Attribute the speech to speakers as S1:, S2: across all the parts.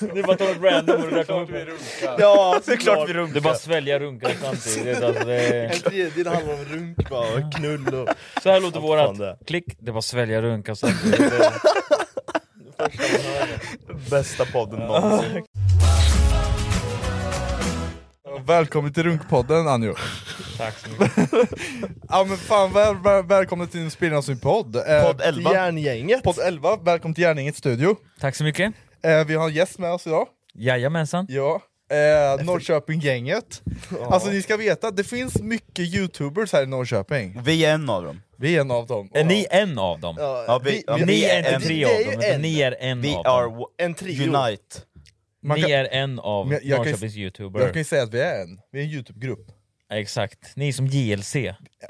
S1: Det är bara att ta ett random och det där kommer upp.
S2: Ja, det är klart vi
S1: Det är
S2: runkar.
S1: bara att svälja runkar samtidigt. Alltså det
S2: En
S3: eh,
S1: är...
S2: tredjedel handlar om runk bara, och knull och...
S1: Så här låter
S2: Vad fan det är.
S1: vårat klick. Det är bara att svälja runkar samtidigt. Det är-
S2: Bästa podden någonsin.
S4: Välkommen till Runkpodden Anjo.
S1: Tack så mycket.
S4: Ja men fan, väl, väl, välkommen till Spillans ny podd. Eh,
S2: Podd 11. Järngänget.
S4: Podd 11, välkommen till Gärningets studio.
S1: Tack så mycket.
S4: Eh, vi har en gäst med oss idag.
S1: Jajamensan.
S4: Ja. Eh, Norrköping-gänget. Alltså ni ska veta, det finns mycket youtubers här i Norrköping.
S3: Vi är en av dem.
S4: Vi är en av dem.
S1: Är ni en av dem?
S3: Ja, vi, ja,
S1: Ni
S3: vi
S1: är inte
S3: en-
S1: tre
S2: det är
S1: av
S2: ju
S1: dem, utan
S2: en.
S1: ni är en
S3: Vi
S1: av
S3: are
S1: dem.
S3: w-
S2: En trio.
S3: unite.
S4: Man kan,
S1: Ni är en av
S4: Men jag kan ju-
S1: Norrköpings
S4: jag kan
S1: youtuber.
S4: ju säga att vi är en, vi är en youtube-grupp.
S1: Exakt. Ni är som JLC.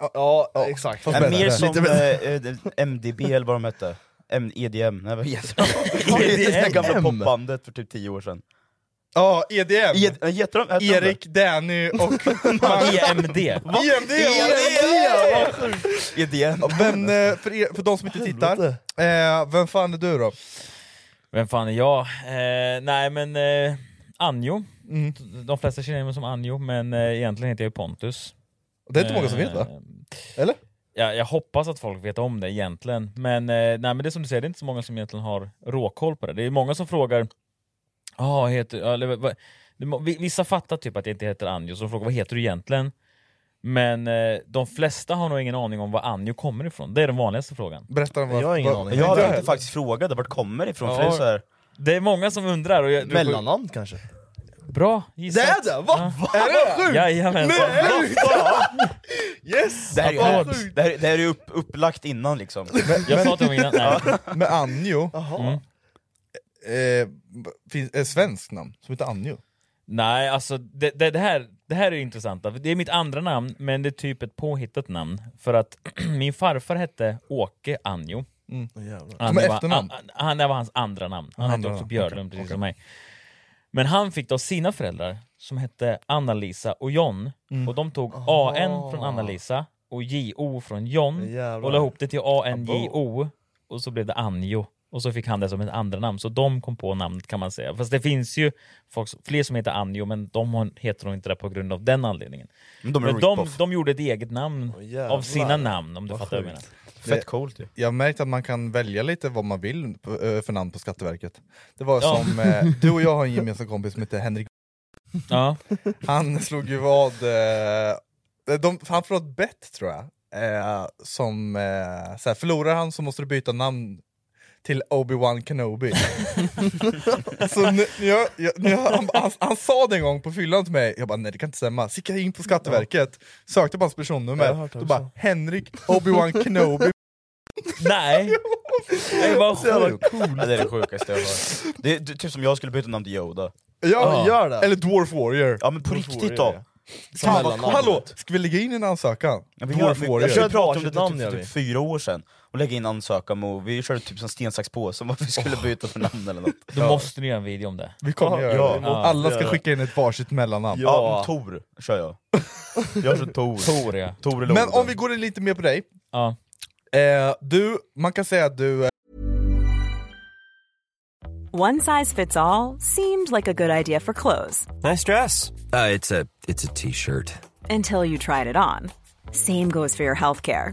S4: Ja, ja, exakt.
S3: Nej, mer som eh, eh, MDB eller vad de hette. M- EDM, nej vad heter
S4: E
S3: det? Det är det gamla popbandet för typ 10 år sedan.
S4: Ja, EDM.
S3: E- äh, Heter de? hette de det?
S4: Erik, Danny och... E
S1: EMD.
S4: EMD!
S3: E EDM!
S4: Vem, eh, för, er, för de som inte tittar, eh, vem fan är du då?
S1: Vem fan är jag? Eh, nej men eh, Anjo. De flesta känner mig som Anjo, men eh, egentligen heter jag ju Pontus.
S4: Det är inte många som vet va?
S1: Eh,
S4: Eller?
S1: Ja, jag hoppas att folk vet om det egentligen, men, eh, nej, men det är som du säger, det är inte så många som egentligen har råkoll på det. Det är många som frågar, ah, heter, eller, vad- vad, det må- vi- vissa fattar typ att jag inte heter Anjo, så de frågar vad heter du egentligen? Men eh, de flesta har nog ingen aning om var Anjo kommer ifrån. Det är den vanligaste frågan.
S4: Berätta vad...
S2: Jag har ingen
S4: vad-
S2: aning.
S3: Jag har
S4: inte
S3: alltid faktiskt frågat vart kommer det ifrån, för
S1: Ja.
S3: det är så här,
S1: Det är många som undrar. Och jag, du-
S2: Mellannamn kanske?
S1: Bra
S2: Det
S1: gissat!
S2: är det! Va?
S4: Är det sjukt?
S1: Jajamensan!
S4: Yes!
S3: det här är ju
S1: Vad
S3: hemskt. Det här, det här är ju upp, upplagt innan liksom.
S1: Jag sa till honom innan, nej.
S4: Med Anjo,
S1: Mm.
S4: eh, finns ett svenskt namn som heter Anjo.
S1: nej alltså det, det, det, här, det här är intressant. Det är mitt andra namn, men det är typ ett påhittat namn. För att min farfar hette Åke Anjo. "Ah, Han,
S4: Mm. Som
S1: det var,
S4: efternamn?
S1: han, han, det var hans andra namn. Han
S4: Andra
S1: hette också
S4: namn,
S1: Björlund, precis som mig. Men han fick då sina föräldrar, som hette Anna-Lisa och John. Och de tog AN från Anna-Lisa och JO från John
S2: Jävlar.
S1: och la ihop det till ANJO. Och så blev det Anjo. Och så fick han det som ett andra namn. Så de kom på namnet kan man säga. Fast det finns ju folk, som- fler som heter Anjo, men de har- heter nog inte det på grund av den anledningen.
S3: Men de är
S1: Men de,
S3: rip-off.
S1: de gjorde ett eget namn
S2: jävlar.
S1: av sina namn, om du fattar vad jag menar.
S3: Fett coolt ju.
S4: Jag har märkt att man kan välja lite vad man vill på- eh, för namn på Skatteverket. Det var
S1: Ja.
S4: som, eh, du och jag har en gemensam kompis som heter Henrik
S1: Ja.
S4: Han slog ju vad... Eh, de, han förlorade ett bett tror jag. Eh, som, eh, så här, förlorar han så måste du byta namn till Obi-Wan Kenobi. så nu, nu, jag, jag, nu, han, han, han sa det en gång på fyllan till mig, jag bara nej det kan inte stämma. Så gick jag in på Skatteverket, sökte på hans
S2: Jag
S4: personnummer,
S2: har hört
S4: då
S2: också.
S4: bara Henrik Obi-Wan Kenobi.
S1: Nej! Det var sjukt.
S3: Ja, det är det sjukaste jag har hört. Det är det är typ som jag skulle byta namn till Yoda.
S4: Ja,
S2: gör det.
S4: Eller Dwarf Warrior.
S3: Ja men på riktigt då!
S2: Som
S4: Fan, vad,
S2: mellannamn.
S4: hallå, ska vi lägga in en ansökan?
S3: Ja, vi gör,
S4: Dwarf
S3: vi,
S4: Warrior.
S3: jag körde
S2: Bra,
S3: pratade om det
S2: namn
S3: typ,
S2: gör
S3: för
S2: vi.
S3: typ fyra år sedan, och lägga in ansökan och vi körde typ som sten, sax, påse om varför vi skulle byta för namn eller något.
S1: Då måste ni göra en video om det.
S4: Vi kommer göra
S3: Ja,
S4: det.
S3: ja.
S4: Alla ska
S2: Ja.
S4: skicka in ett varsitt mellannamn.
S3: Ja, men Tor kör jag. Jag kör Tor.
S1: Tor ja.
S3: Tor eller
S4: Men om
S3: Oden.
S4: vi går in lite mer på dig.
S1: ja.
S4: Eh, du, man kan säga att du... eh,
S5: One size fits all seemed like a good idea for clothes
S6: Nice dress. Uh, it's a it's a t-shirt.
S5: until you tried it on. Same goes for your healthcare.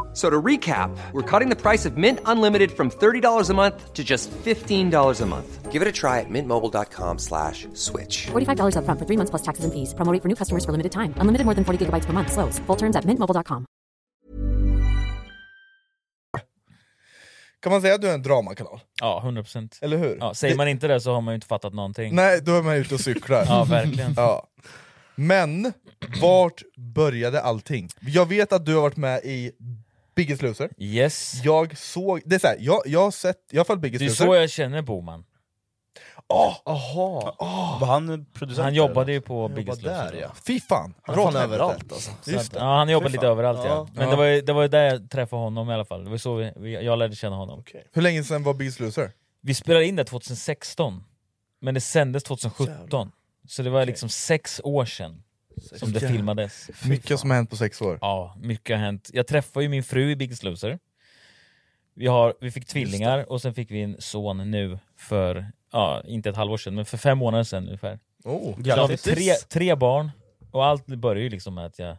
S7: So to recap, we're cutting the price of Mint Unlimited from $30 a month to just $15 a month. Give it a try at mintmobile.com slash switch.
S8: $45 upfront for three months plus taxes and fees. Promo rate for new customers for limited time. Unlimited more than 40 gigabytes per month. Slows. Full terms at mintmobile.com.
S4: Kan man säga att du är en dramakanal?
S1: Ja, 100%.
S4: Eller hur?
S1: Ja, säger man inte det så har man ju inte fattat någonting.
S4: Nej, då är man ute och cyklar.
S1: Ja, verkligen.
S4: Ja. Men, vart började allting? Jag vet att du har varit med i Biggest Loser.
S1: Yes.
S4: Jag såg, det är så här, jag, jag har sett, jag har följt Biggest
S1: Det är
S4: Loser.
S1: så jag känner Boman.
S4: Åh!
S2: Aha.
S3: Var han producent?
S1: Han jobbade ju på Biggest
S2: där
S1: Loser.
S2: ja.
S4: Fy fan!
S2: Han är fan
S4: Råthelvete.
S2: överallt alltså.
S4: Just det.
S1: Ja, han jobbar
S2: Fy
S1: lite
S2: fan.
S1: överallt ja.
S2: Ja.
S1: Men
S4: Ja.
S1: Det, var ju, det var ju där jag träffade honom i alla fall, det var så vi, vi, jag lärde känna honom.
S2: Okej.
S4: Hur länge sedan var Biggest Loser?
S1: Vi spelade in det 2016, men det sändes 2017. Så det var liksom sex år sedan som det
S4: Jävlar.
S1: filmades.
S4: Mycket som har hänt på sex år.
S1: Ja, mycket har hänt. Jag träffade ju min fru i Biggest Loser. Vi, har, vi fick tvillingar och sen fick vi en son nu för, ja inte ett halvår sedan, men för fem månader sedan ungefär.
S4: Oh.
S1: Så har vi
S3: Grattis.
S1: tre, tre barn, och allt började ju liksom med att jag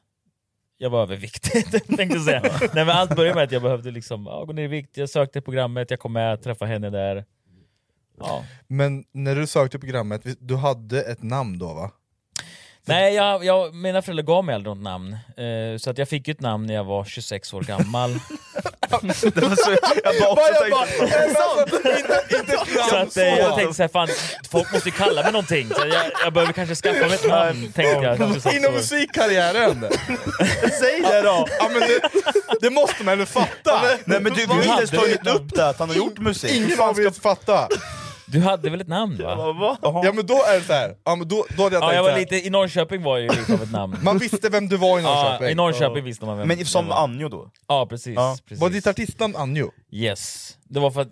S1: jag var överviktig, tänkte jag säga. Nej, men allt började med att jag behövde liksom, ja, gå ner i vikt, jag sökte programmet, jag kom med, träffade henne där. Ja.
S4: Men när du sökte programmet, vi- du hade ett namn då va?
S1: Nej, jag, jag, mina föräldrar gav mig aldrig något namn, eh, så att jag fick ju ett namn när jag var 26 år gammal.
S3: Det var så, Alltså, jag bara också tänkte...
S1: Så att, eh, jag tänkte såhär, fan folk måste ju kalla mig någonting, så jag, jag behöver kanske skaffa mig ett namn, tänkte jag.
S4: Inom musikkarriären! Säg det då! Ja, men det, det måste man väl fatta!
S3: Nej men du, vi har inte ens tagit upp det, att han har gjort musik.
S4: Ingen av er fatta!
S1: Du hade väl ett namn va?
S4: Ja men då är det såhär, ja, men då, då hade jag
S1: Ja,
S4: tänkt
S1: jag
S4: så
S1: var
S4: här.
S1: lite, i Norrköping var jag ju lite av ett namn.
S4: Man visste vem du var i
S1: Ja,
S4: Norrköping.
S1: I Norrköping visste man vem
S3: Men
S1: jag
S3: som
S1: var.
S3: Anjo då?
S1: Ja, precis.
S3: Ja.
S1: precis.
S4: Var ditt artistnamn Anjo?
S1: Yes. Det var för att...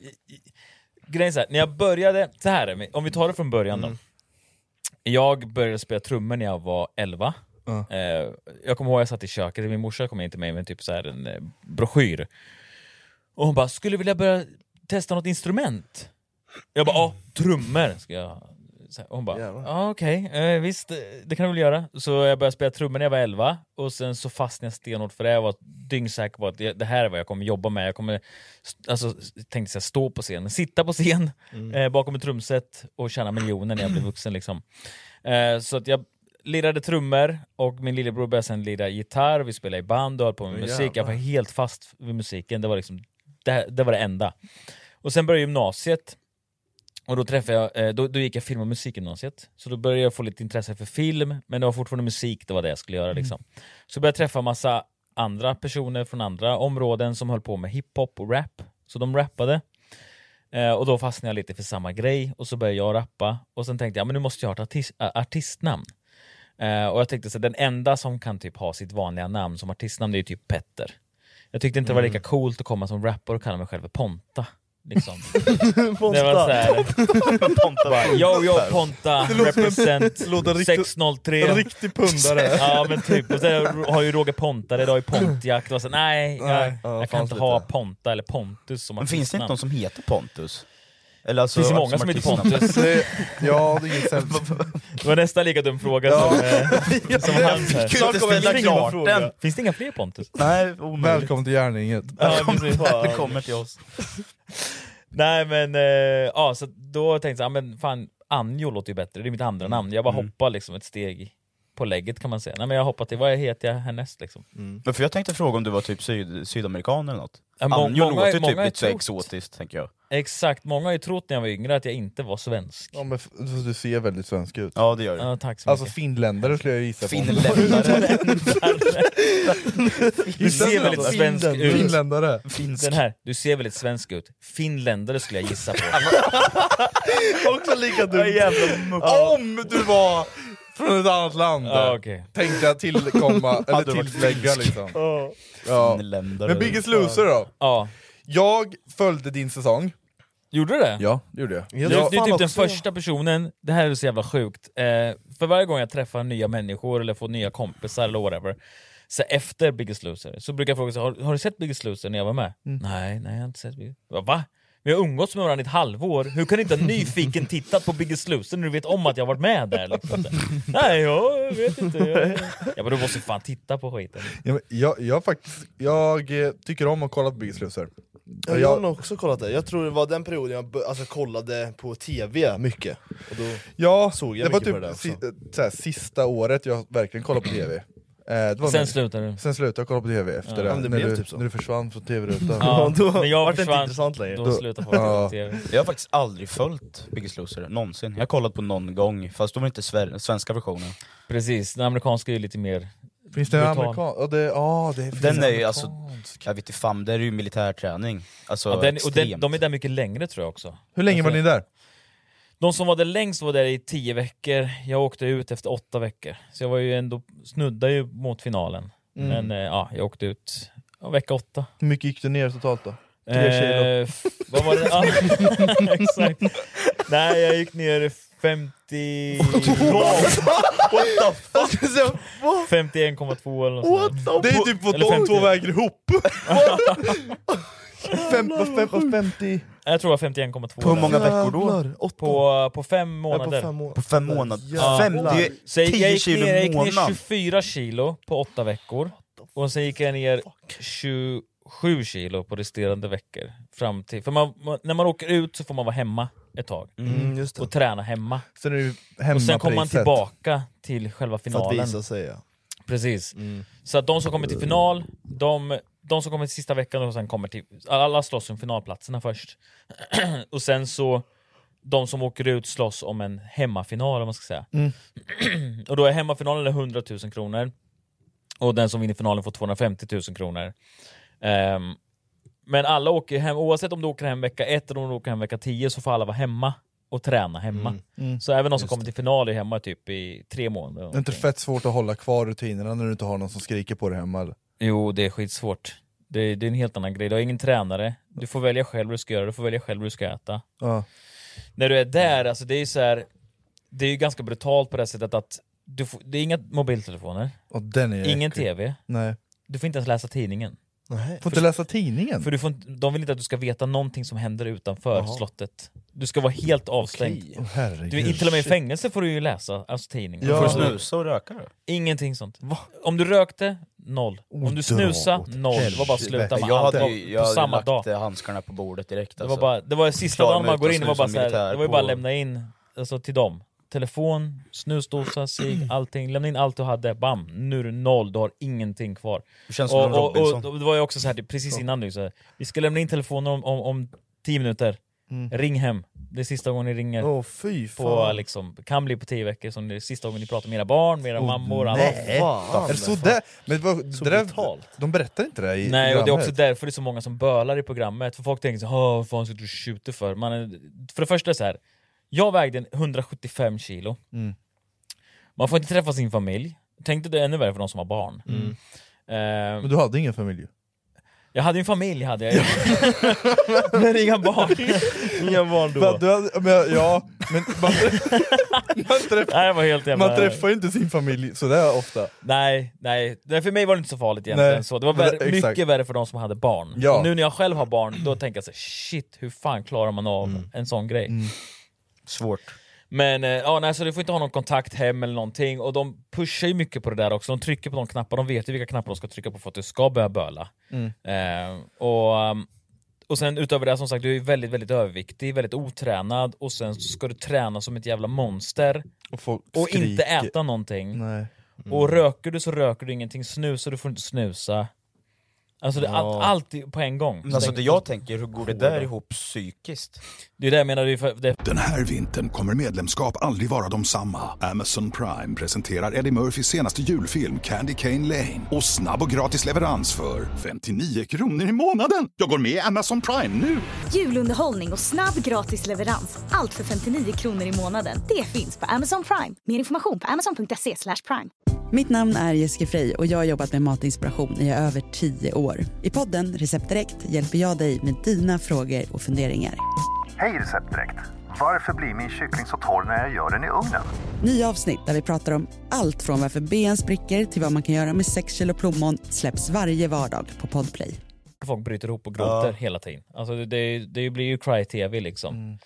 S1: Grejen är så här, när jag började... Så här är det, om vi tar det från början då. Jag började spela trummor när jag var 11. Eh, jag kommer ihåg jag satt i köket, min morsa kom in till mig med typ så här en eh, broschyr. Och hon bara, skulle du vilja börja testa något instrument? Jag bara, ja, trummor ska jag... Så här, och hon bara, ja okej, eh, visst eh, det kan du väl göra. Så jag började spela trummor när jag var 11 och sen så fastnade jag stenhårt för det. Jag var dyngsäker på att det det här är vad jag kommer jobba med. Jag kommer, st- alltså, tänkte jag stå på scen, men sitta på scen eh, bakom ett trumset och tjäna miljoner när jag blir vuxen. Liksom. Eh, så att jag lirade trummor och min lillebror började sen lira gitarr, vi spelade i band och höll på med musik. Jag var helt fast vid musiken, det var, liksom, det, det, var det enda. Och sen började gymnasiet, och då, träffade jag, eh, då, då gick jag film och musikgymnasiet. Så då började jag få lite intresse för film, men det var fortfarande musik, det var det jag skulle göra. Liksom. Så började jag träffa massa andra personer från andra områden som höll på med hiphop och rap. Så de rappade. Eh, och då fastnade jag lite för samma grej, och så började jag rappa. Och sen tänkte jag, men nu måste jag ha ett artist, ä, artistnamn. Eh, och jag tänkte så här, den enda som kan typ ha sitt vanliga namn som artistnamn, det är ju typ Petter. Jag tyckte inte det var lika coolt att komma som rappare och kalla mig själv för Ponta. Liksom. Det var så här,
S3: Ponta bara,
S1: Yo yo Ponta, represent 603
S4: Riktig pundare.
S1: Ja men typ, och sen har ju Roger Pontare, idag har ju Pontiac, det var så, nej jag,
S4: Nej, ja,
S1: jag kan
S4: fanns
S1: inte ha
S4: lite.
S1: Ponta eller Pontus som
S3: Men finns det inte
S1: artistnamn.
S3: någon som heter Pontus? Eller alltså,
S1: Finns det många som heter
S3: artistnamn?
S1: Pontus?
S4: Det- ja, det är inget sämst.
S1: Det var nästan lika dum fråga som, eh, som hans här.
S3: Kul att
S4: kommer
S3: ställa
S4: en liten
S3: klart
S4: fråga.
S3: den!
S1: Finns det inga fler Pontus?
S3: Nej, omöjligt.
S4: Välkommen till Järninget.
S1: Ja, precis.
S3: Det kommer till oss.
S1: Nej men, eh, ja så då tänkte jag, ja, men fan Anjo låter ju bättre, det är mitt andra namn. Jag bara
S3: Mm.
S1: hoppar liksom ett steg på lägget kan man säga. Nej men jag hoppar till, vad heter jag härnäst liksom?
S3: Men för jag tänkte fråga om du var typ syd, sydamerikan eller något?
S1: Ja, må-
S3: Anjo
S1: många-
S3: låter ju
S1: många
S3: typ
S1: har
S3: lite så
S1: trott.
S3: exotiskt, tänker jag.
S1: Exakt, många har ju trott när jag var yngre att jag inte var svensk.
S4: Ja, men f- du ser väldigt svensk ut.
S3: Ja, det gör det.
S1: Ja, tack så
S4: Alltså
S1: mycket.
S4: finländare skulle jag gissa på.
S3: Finländare.
S1: du ser väldigt svensk ut.
S4: Finländare.
S3: Finsk.
S1: Den här, du ser väldigt svensk ut. Finländare skulle jag gissa på.
S4: Också lika dumt. Om du var Från ett annat land.
S1: Ja, okej.
S4: Tänkte jag tillkomma, eller
S1: Hade varit
S4: tillägga
S1: finsk.
S4: liksom.
S1: Ja.
S4: Ja.
S1: Finländare.
S4: Men Biggest Loser då?
S1: Ja.
S4: Jag följde din säsong.
S1: Gjorde du det?
S4: Ja, det gjorde jag.
S1: Du, du är typ den första personen, det här är så jävla sjukt, eh, för varje gång jag träffar nya människor eller får nya kompisar eller whatever, så efter Biggest Loser så brukar jag fråga så, här, har, har du sett Biggest Loser när jag var med? Nej, nej jag har inte sett Biggest Loser. Va? Vi har umgåtts med varandra i ett halvår, hur kan du inte ha nyfiken tittat på Biggest Loser när du vet om att jag har varit med där? Liksom? nej, jag vet inte. Jag, jag bara, du måste fan titta på skiten.
S4: Ja, men Jag, jag, faktiskt, jag eh, tycker om att kolla på Biggest Loser.
S2: Ja, jag har nog också kollat det, jag tror det var den perioden jag bör- alltså, kollade på tv mycket och då
S4: Ja,
S2: såg jag
S4: det var
S2: mycket på det
S4: typ
S2: där också.
S4: si, eh, såhär, sista året jag verkligen kollade på TV. Eh, det var
S1: Sen
S4: när-
S1: slutade du.
S4: Sen slutade jag kolla på TV efter
S1: Ja.
S4: det.
S1: Ja, men det
S4: när,
S1: blev
S4: du,
S1: typ så.
S4: när du försvann från TV-rutan.
S1: Ja, Då när jag vart det inte försvann, intressant längre. då
S3: Då-
S1: slutade folk kolla på TV.
S3: Jag har faktiskt aldrig följt Biggest Loser, någonsin. Jag har kollat på någon gång, fast då var det inte sver- svenska versionen.
S1: Precis, den amerikanska är ju lite mer...
S4: Finns det en
S3: Brutal.
S4: amerikan? Ja, det, ja, det finns
S3: Den är ju
S4: amerikan.
S3: alltså, jag vet inte fan, det är ju militärträning. Alltså
S1: Ja, den, och
S3: extremt.
S1: den, de är där mycket längre tror jag också.
S4: Hur länge var ni där?
S1: De som var där längst var där i tio veckor, jag åkte ut efter åtta veckor. Så jag var ju ändå, snuddade ju mot finalen.
S2: Mm.
S1: Men eh, ja, jag åkte ut ja, vecka åtta.
S2: Hur mycket gick du ner totalt då? Tre
S1: Eh,
S2: kilo?
S1: f- vad var det? Ja, exakt. Nej, jag gick ner 50...
S2: What the fuck?
S1: 51,2 eller något sånt där.
S4: Det är typ vad
S1: Eller
S4: de
S1: 50.
S4: två väger ihop!
S2: Fem, fem, fem, 50...
S1: Jag tror det var 51,2.
S3: På hur
S1: där.
S3: många veckor då?
S2: Jävlar,
S1: På, på fem månader.
S2: fem månader.
S3: På fem månader?
S1: Ja.
S3: Fem, det är
S1: Så jag, jag
S3: 10
S1: gick
S3: kilo
S1: ner, jag
S3: i
S1: gick ner
S3: månaden.
S1: 24 kilo på åtta veckor. Och sen gick jag ner 27 kilo på resterande veckor. Fram till, för man, man, när man åker ut så får man vara hemma ett tag.
S2: Mm, just det.
S1: och träna hemma.
S4: Sen är det ju
S1: och sen kommer man
S4: hemmapriset.
S1: tillbaka till själva
S2: För att
S1: finalen.
S2: visa sig, ja.
S1: Precis.
S4: Mm.
S1: Så att de som kommer till final, de, de som kommer till sista veckan och sen kommer till... Alla slåss om finalplatserna först. och sen så, de som åker ut slåss om en hemmafinal om man ska säga.
S9: Mm.
S1: och då är hemmafinalen 100 000 kronor. Och den som vinner finalen får 250 000 kronor. Ehm, men alla åker hem, oavsett om du åker hem vecka 1 eller om du åker hem vecka 10 så får alla vara hemma och träna hemma.
S4: Mm. Mm.
S1: Så även de som
S4: Just
S1: kommer till final är hemma typ i tre månader.
S4: Det är inte fett svårt att hålla kvar rutinerna när du inte har någon som skriker på dig hemma? Eller?
S1: Jo, det är skitsvårt. Det, det är en helt annan grej. Du har ingen tränare. Du får välja själv hur du ska göra, du får välja själv hur du ska äta.
S4: Ja.
S1: När du är där, alltså det är ju så här, det är ju ganska brutalt på det här sättet att du får, det är inga mobiltelefoner,
S4: Och den är
S1: ingen
S4: äcklig.
S1: TV,
S4: Nej.
S1: du får inte ens läsa tidningen.
S3: Mm.
S4: Nej. Får inte läsa tidningen?
S1: För du får, inte- de vill inte att du ska veta någonting som händer utanför
S4: Jaha.
S1: slottet. Du ska vara helt avstängd.
S3: Oh,
S4: Åh, herregud.
S1: du, i- till och med i
S4: Shit.
S1: fängelse får du ju läsa alltså, tidningen.
S3: Ja. Får du snusa och röka då?
S1: Ingenting sånt. Om du rökte, noll. Om du
S3: Åt
S1: snusa,
S3: åt
S1: noll. Det var bara att sluta med
S3: jag
S1: allt.
S3: hade,
S1: Det var
S3: ju- jag
S1: på
S3: hade
S1: samma
S3: lagt
S1: dag.
S3: eh, handskarna på bordet direkt
S1: Det
S3: alltså.
S1: var, bara, det var ju sista
S3: Klar
S1: dagen
S3: med
S1: man
S3: ut
S1: går
S3: och
S1: in, det var
S3: snus
S1: bara
S3: som
S1: så här,
S3: militär
S1: det var ju bara
S3: på-
S1: att lämna in alltså, till dem. Telefon, snusdosa, cigg, allting. Lämna in allt du hade, bam! Nu är du noll, du har ingenting kvar.
S3: Det känns som
S1: och,
S3: en
S1: och, och,
S3: Robinson.
S1: det var ju också så här, det- precis innan nu, så här, vi ska lämna in telefonen om, om, om tio minuter.
S2: Mm.
S1: Ring hem, det är sista gången ni ringer.
S2: Åh, fy
S1: på,
S2: fan.
S1: liksom, kan bli på tio veckor, som det är sista gången ni pratar med era barn, med era
S4: Åh,
S1: mammor, allt.
S4: nej. Är det så där? Men vad, det där, de berättar inte det i
S1: Nej, och det är också
S4: programmet.
S1: därför det är så många som bölar i programmet. För folk tänker så här, "Åh, vad fan sitter du och tjuter för? Man är, för det första är det så här, jag vägde 175 kilo.
S4: Mm.
S1: Man får inte träffa sin familj. Tänk dig det är ännu värre för de som har barn.
S4: Mm.
S1: Eh,
S4: Men du hade ingen familj? ju.
S1: Jag hade ju en familj, hade jag ju. Men inga barn. inga barn
S4: Men du hade, men, ja, men man, man, träff,
S1: Nej, jag var helt jävla...
S4: man träffar ju inte sin familj sådär ofta.
S1: Nej, nej. Nej, För mig var det inte så farligt egentligen.
S4: Nej.
S1: Så det var
S4: Men det-
S1: värre,
S4: exakt.
S1: mycket värre för de som hade barn.
S4: Ja.
S1: Och nu när jag själv har barn, då tänker jag så här, shit, hur fan klarar man av
S4: Mm.
S1: en sån grej?
S3: Svårt.
S1: Men eh, ja, nej, så du får inte ha någon kontakt hem eller någonting. Och de pushar ju mycket på det där också. De trycker på de knappar, de vet ju vilka knappar de ska trycka på för att du ska börja böla.
S9: Mm.
S1: Eh, och, um, och sen utöver det, som sagt, du är ju väldigt, väldigt överviktig, väldigt otränad och sen så ska du träna som ett jävla monster
S4: och, folk
S1: inte
S4: skriker.
S1: äta någonting.
S4: Nej.
S3: Mm.
S1: Och röker du så röker du ingenting, snusar du får inte snusa. Alltså det, allt, allt på en gång.
S3: Men alltså det jag tänker, hur går det där ihop psykiskt?
S1: Det är det jag menar, det är för, det...
S10: Den här vintern kommer medlemskap aldrig vara de samma. Amazon Prime presenterar Eddie Murphys senaste julfilm Candy Cane Lane. Och snabb och gratis leverans för 59 kronor i månaden. Jag går med i Amazon Prime nu!
S11: Julunderhållning och snabb gratis leverans. Allt för 59 kronor i månaden. Det finns på Amazon Prime. Mer information på amazon.se slash prime.
S9: Mitt namn är Jessica Frey och jag har jobbat med matinspiration i över 10 år. I podden Recept Direkt hjälper jag dig med dina frågor och funderingar.
S12: Hej Receptdirekt! Varför blir min kyckling så torr när jag gör den i ugnen?
S9: Nya avsnitt där vi pratar om allt från varför ben spricker till vad man kan göra med 6 kilo plommon släpps varje vardag på Podplay.
S1: Folk bryter ihop och gråter
S9: Ja.
S1: hela tiden. Alltså det, det, det blir ju cry-tv liksom.
S4: Mm.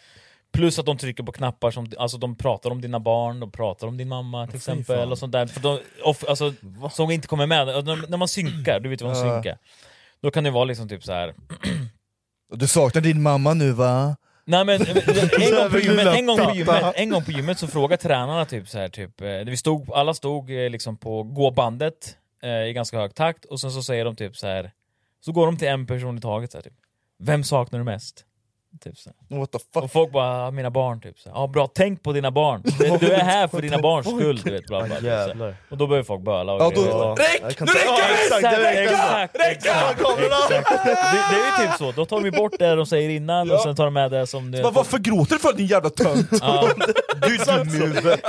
S1: Plus att de trycker på knappar, som, alltså de pratar om dina barn, de pratar om din mamma till
S4: Fy
S1: exempel.
S4: fan.
S1: Och sånt där. För de, off, alltså, som inte kommer med. Och När, när man synkar, du vet ju vad man
S4: Ja.
S1: synkar. Då kan det vara liksom typ så här.
S2: Du saknar din mamma nu va?
S1: Nej men, men en, gång på gymmet, en, gång på
S2: Lilla
S1: gymmet, en gång på gymmet så frågade tränarna typ så här, typ, eh, vi stod, alla stod eh, liksom på gåbandet eh, i ganska hög takt och sen så säger de typ så här. så går de till en person i taget så här, typ. Vem saknar du mest? Typ så här.
S4: What the
S1: Och folk bara, "Ah, mina barn typ. Så här, ja bra, tänk på dina barn. Du- Du är här för dina barns skull. Du vet, bla, bla, bla, så här.
S3: Jävlar.
S1: Och då börjar folk böla och
S3: Ja,
S1: grejer.
S3: då- Räck! Nu
S1: Ja,
S3: räcker det!
S1: exakt,
S3: Nu räcker det!
S1: exakt,
S3: Räcker det!
S1: exakt,
S3: Kamerorna!
S1: exakt. Det det är ju typ så, då tar de ju bort det de säger innan och sen tar de med det som...
S13: Vad- varför gråter du för din jävla tönt?
S1: Ja.
S13: Du är dum i huvudet.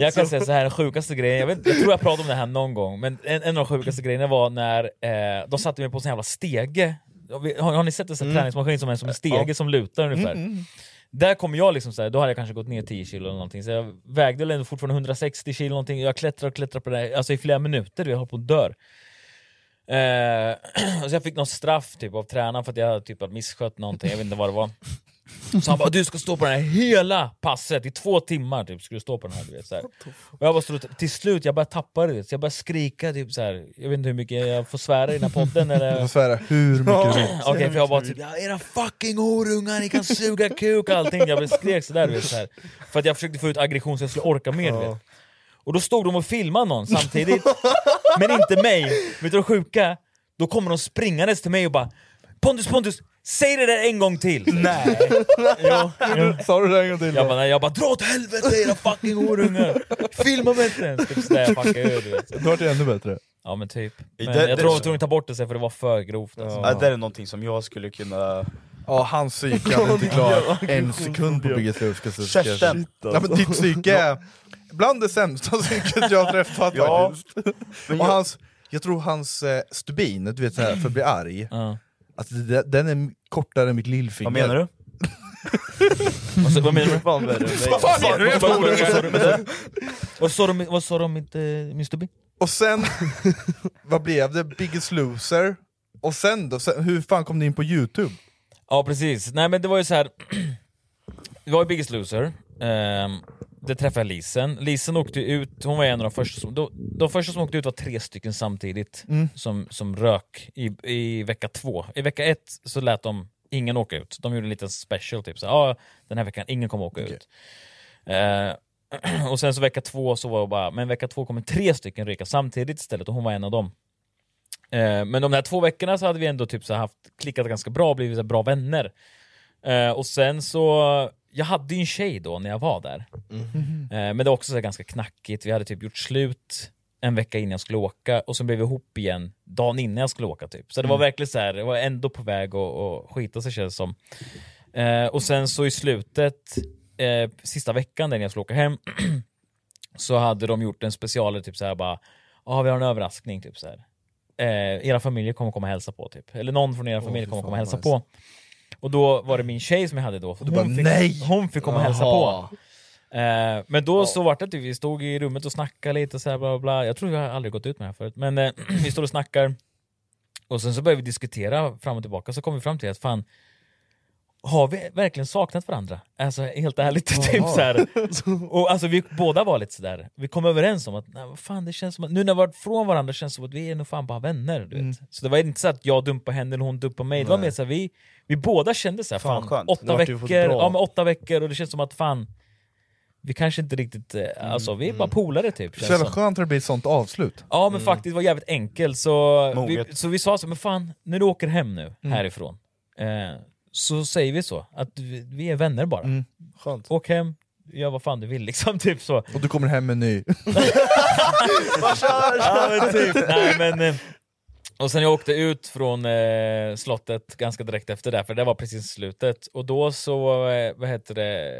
S1: Jag kan säga så här, den sjukaste grejen, jag, vet, jag tror jag pratade om det här någon gång, men en, en av de sjukaste grejerna var när eh, de satte mig på en sån jävla stege. Har, har ni sett en sån
S4: Mm.
S1: träningsmaskin som är som en stege
S4: Ja.
S1: som lutar ungefär?
S4: Mm, mm.
S1: Där kom jag liksom så här, då hade jag kanske gått ner 10 kilo eller någonting, så jag vägde väl ändå fortfarande 160 kilo någonting, jag klättrar och klättrar på det här, alltså i flera minuter, du vet, jag höll på att dör. Eh, så jag fick någon straff typ av tränaren för att jag hade typ hade misskött någonting, jag vet inte vad det var. Så han bara du ska stå på den här hela passet i två timmar typ, ska du stå på den här. Du vet, så här. Och jag bara stod, till slut jag började tappa det, du vet. så jag började skrika typ så här. jag vet inte hur mycket jag får svära i den här podden eller...
S4: Du får svära hur mycket du vill.
S1: Okej, för jag bara typ ja, era fucking horungar, ni kan suga kuk och allting. Jag blev skrek sådär du vet. Så här. För att jag försökte få ut aggression så jag skulle orka mer du vet. Och då stod de och filmade någon samtidigt, men inte mig. Vet du vad det sjuka? Då kommer de springandes till mig och bara Pontus, Pontus, säg det där en gång till! Nej! jo, jo.
S4: Sa du det en gång till?
S1: Jag bara, nej, jag bara dra åt helvete era fucking horungar! Filma mig inte ens! Typ sådär jag fuckar ur du vet.
S4: Då vart det ännu bättre.
S1: Ja men typ.
S3: I
S1: Men
S3: det-
S1: jag
S3: det-
S1: tror de tog ta bort det sen för det var för grovt alltså.
S3: Ja. Det är någonting som jag skulle kunna...
S4: Ja, hans psyke hade inte klarat en sekund på Biggest Loser. så ska jag-
S3: Kerstin.
S4: Ja, men ditt psyke är bland det sämsta psyket jag har träffat
S3: Ja.
S4: faktiskt.
S3: Men
S4: Och
S3: jag-
S4: hans, jag tror hans eh, stubin, du vet så här, för att bli arg, att det, den är kortare än mitt lillfinger.
S3: Vad menar du?
S1: Alltså, vad menar du?
S3: Vad menar du?
S4: Vad fan menar du?
S1: Vad fan menar du?
S4: Vad
S1: Vad sa du? Vad sa
S4: menar du?
S1: du? Vad sa de- Vad sa de om mitt, eh, min stubin?
S4: Och sen, vad blev det? Biggest Loser? Och sen då? Sen, hur fan kom ni in på Youtube?
S1: Ja precis, nej men det var ju så här. Det var ju Biggest Loser, um, det träffade jag Lisen. Lisen åkte ut, hon var en av de första som, de, de första som åkte ut var tre stycken samtidigt
S4: Mm.
S1: som, som rök i, i vecka två. I vecka ett så lät de ingen åka ut, de gjorde en liten special typ så här, ah, den här veckan, ingen kommer åka ut. Eh, och sen så vecka två så var jag bara, men vecka två kommer tre stycken ryka samtidigt istället och hon var en av dem. Eh, men de här två veckorna så hade vi ändå typ så här haft klickat ganska bra och blivit så här bra vänner. Eh, och sen så, jag hade ju en tjej då när jag var där. Eh, men det var också så här ganska knackigt, vi hade typ gjort slut en vecka innan jag skulle åka och sen blev vi ihop igen dagen innan jag skulle åka typ. Så det var
S4: Mm.
S1: verkligen så här, det var ändå på väg att, att skita sig känns det som. Eh, och sen så i slutet, eh, sista veckan där när jag skulle åka hem, så hade de gjort en specialare typ så här bara, ja vi har en överraskning typ så här. Eh, era familjer kommer komma och hälsa på typ. Eller någon från era
S4: Åh,
S1: familjer
S4: fy
S1: kommer
S4: fan,
S1: komma och hälsa
S4: nice.
S1: på. Och då var det min tjej som jag hade då. Hon,
S4: bara,
S1: fick,
S4: "Nej!"
S1: hon fick komma och hälsa
S4: Jaha.
S1: på. Eh, men då så var det typ, vi stod i rummet och snackade lite så här bla bla, bla. Jag tror jag har aldrig gått ut med det här förut. Men eh, vi står och snackar. Och sen så började vi diskutera fram och tillbaka, så kom vi fram till att fan, har vi verkligen saknat varandra? Alltså helt ärligt, typ så här. Och alltså vi båda var lite sådär, vi kom överens om att nej, vad fan, det känns som att, nu när vi varit från varandra känns det som att vi är nog fan bara vänner. Du vet. Så det var inte så att jag dumpade henne eller hon dumpade mig, det var
S4: Mm. Nej.
S1: mer så här, vi, vi båda kände såhär,
S4: Fan,
S1: fan,
S4: skönt. Det
S1: åtta
S4: vart ju
S1: veckor,
S4: bra.
S1: ja, men åtta veckor och det känns som att fan, vi kanske inte riktigt, eh, alltså vi är bara polare typ. känns
S4: Så jävla
S1: som.
S4: skönt att det blir ett sånt avslut.
S1: Ja men faktiskt, det var jävligt enkelt. Så vi,
S4: Moget.
S1: så vi sa så men fan, när du åker hem nu
S4: Mm.
S1: härifrån, eh, så säger vi så. Att vi, vi är vänner bara.
S4: Mm.
S2: Skönt.
S1: Åk hem, gör vad fan du vill liksom. Typ så.
S4: Och du kommer hem med en ny.
S1: Ja, men typ. Nej, men, eh, och sen jag åkte ut från eh, slottet ganska direkt efter det, för det var precis slutet. Och då så, eh, vad heter det,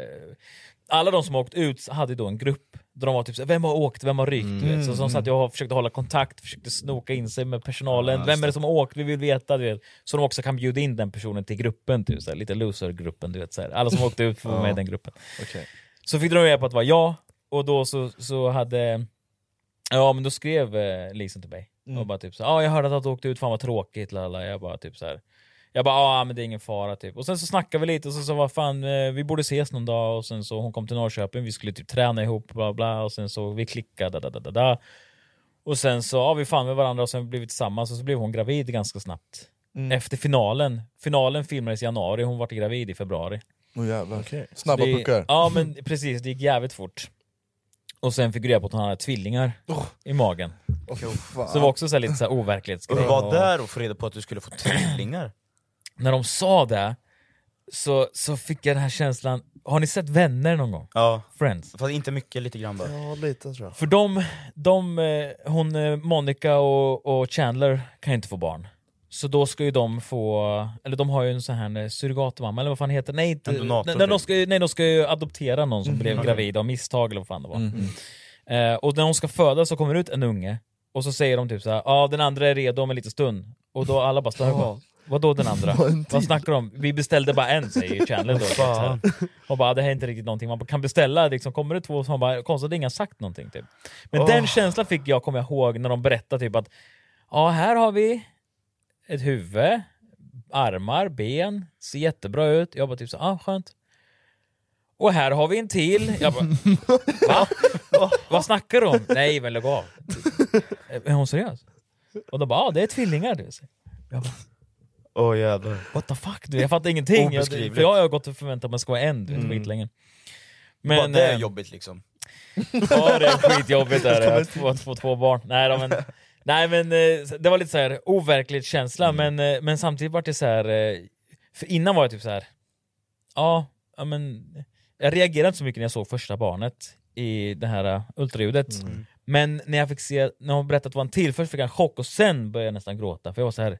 S1: alla de som har åkt ut hade ju då en grupp där de var typ såhär, vem har åkt, vem har rykt? Du vet. Så som satt jag och försökte hålla kontakt, försökte snoka in sig med personalen.
S3: Ja, just
S1: vem är det som har åkt? Vi vill veta. Du vet. Så de också kan bjuda in den personen till gruppen, typ, såhär, lite loser-gruppen. Du vet, såhär. Alla som åkte ut får vara med i
S3: Ja.
S1: den gruppen.
S3: Okej.
S1: Så fick de reda på att det var jag, och då så, så hade... Ja men då skrev eh, Lisen till mig,
S3: Mm.
S1: och bara typ så ja jag hörde att du åkte ut, fan vad tråkigt, lala. Jag bara typ så här. Jag bara ja men det är ingen fara typ. Och sen så snackade vi lite och så sa vad fan eh, vi borde ses någon dag och sen så hon kom till Norrköping, vi skulle typ träna ihop bla bla och sen så vi klickade da da da da. Och sen så ja vi fann med varandra och sen blev vi tillsammans och så blev hon gravid ganska snabbt.
S4: Mm.
S1: Efter finalen, finalen filmades i januari, hon vart gravid i februari.
S4: Åh jävlar. Snabba
S1: Så det,
S4: puckar.
S1: Ja men precis, det gick jävligt fort. Och sen fick vi reda på att hon hade tvillingar i magen.
S3: fan.
S1: så det var också så här lite så här overklighetsgrej.
S3: Och du var där och få reda på att du skulle få tvillingar?
S1: När de sa det så, så fick jag den här känslan, har ni sett Vänner någon gång?
S3: Ja.
S1: Friends.
S3: Fast inte mycket, lite grann bara.
S2: Ja, lite tror jag.
S1: För de, de eh, hon, eh, Monica och, och Chandler kan ju inte få barn. Så då ska ju de få, eller de har ju en sån här eh, surrogatmamma eller vad fan heter det? Nej, inte,
S3: En donator,
S1: nej, de
S3: typ.
S1: ska, ju- nej, de ska ju adoptera någon som
S3: Mhm.
S1: blev
S3: Okej.
S1: gravid av misstag eller vad fan det var.
S3: Mm.
S1: Eh, och när hon ska föda så kommer det ut en unge och så säger de typ så här, ja den andra är redo om en liten stund. Och då alla bara stör på. Vadå den andra?
S3: Vad en
S1: Vad
S3: tid.
S1: snackar de om? Vi beställde bara en säger ju Chandler då. typ så här. Och bara "Ah, det här är inte riktigt någonting man kan beställa, liksom, kommer det två som bara konstigt att ingen har sagt någonting. Typ. Men
S3: Åh.
S1: den känslan fick jag, kommer jag ihåg, när de berättade typ att ja här har vi ett huvud, armar, ben, ser jättebra ut. Jag bara typ så ah skönt. Och här har vi en till. Jag bara, Va? Vad snackar du om? Nej men lägg av. Är hon seriös? Och de bara, ja ah, det är tvillingar. Du. Så
S3: Åh jävlar.
S1: What the fuck? du, Jag fattar ingenting. Jag,
S3: Obeskrivligt.
S1: för jag har gått och förväntat mig att det ska vara en, du vet,
S3: Mm.
S1: skitlänge.
S3: Men, bara, det är
S1: eh,
S3: jobbigt liksom.
S1: Ja det är skitjobbigt där, att få, att få två barn. Nej, då, men, nej men eh, det var lite så här overkligt känsla
S3: Mm.
S1: men, eh, men samtidigt var det så här eh, för innan var jag typ så här ja, ja men jag reagerade inte så mycket när jag såg första barnet i det här eh, ultraljudet.
S3: Mm.
S1: Men när jag fick se, när hon berättade att det var en till, först fick jag en chock och sen började jag nästan gråta för jag var så här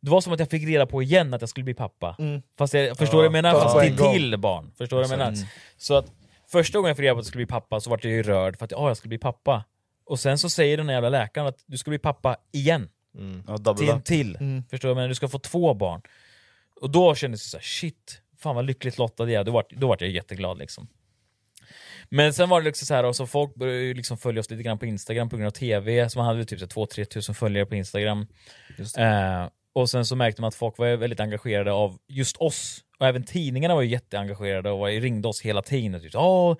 S1: det var som att jag fick reda på igen att jag skulle bli pappa.
S3: Mm.
S1: Fast jag, förstår
S3: Ja,
S1: du vad jag menar?
S3: fast
S1: Fast
S3: på
S1: till,
S3: en gång.
S1: till barn. Förstår du vad jag menar?
S3: Exakt. Mm.
S1: Så att första gången jag fick reda på att jag skulle bli pappa så vart jag ju rörd för att ja, jag skulle bli pappa. Och sen så säger den här jävla läkaren att du ska bli pappa igen.
S3: Ja, double
S1: till en
S3: up.
S1: till.
S3: Mm.
S1: Förstår du vad jag menar? Du ska få två barn. Och då kändes det så här, shit, fan vad lyckligt lottad jag är. Då vart, då vart jag jätteglad liksom. Men sen var det liksom så här, alltså folk började ju liksom följa oss lite grann på Instagram på grund av TV, så man hade ju typ 2-3 tusen följare på Instagram. Eh, och sen så märkte man att folk var ju väldigt engagerade av just oss. Och även tidningarna var ju jätteengagerade och var, ringde oss hela tiden. Och typ, Åh,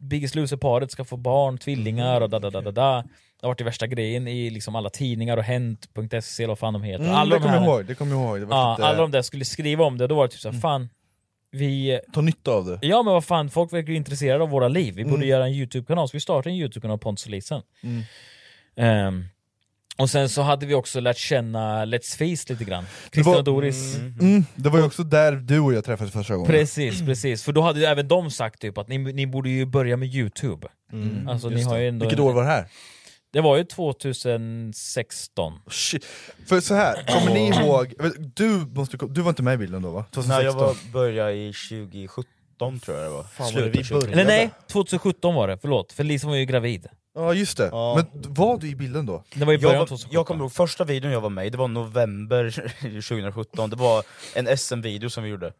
S1: Biggest Loser-paret ska få barn, tvillingar och da da da da da. Det har varit det värsta grejen i liksom alla tidningar och Hent.se E eller vad fan de heter.
S4: Mm,
S1: alla
S4: det
S1: de
S4: kommer jag
S1: här-
S4: ihåg, Mm. det kommer jag ihåg. Det var typ, eh,
S1: ja,
S4: lite-
S1: Alla de där skulle skriva om det, då var det typ såhär, fan, vi...
S4: Ta nytta av det.
S1: Ja men vad fan, folk verkar ju intresserade av våra liv. Vi borde
S4: Mm.
S1: göra en YouTube-kanal, så vi startade en YouTube-kanal, Pontus och Lisen.
S4: Mm.
S1: Ehm, och sen så hade vi också lärt känna Let's Face lite grann.
S4: Det
S1: Christian
S4: var-
S1: och Doris.
S4: Mm, det var ju också där du och jag träffades första gången.
S1: Precis, precis. För då hade ju även de sagt typ att ni, ni borde ju börja med YouTube.
S4: Mm,
S1: Alltså, ni
S4: just
S1: har
S4: det.
S1: ju ändå
S4: Vilket år var det här?
S1: Det var ju 2016.
S4: Shit. För så här, kommer ni ihåg, du, måste, du var inte med i bilden då va?
S3: Nej, jag
S4: 2016?
S3: var, började i 2017 tror jag det var.
S4: vad det vi började.
S1: Eller nej, 2017 var det. Förlåt, för Lisa var ju gravid.
S4: Ja just det, men var du i bilden då?
S1: Det var i början av
S3: jag,
S1: 2017.
S3: jag kommer ihåg första videon jag var med i, det var november 2017, det var en SM-video som vi gjorde.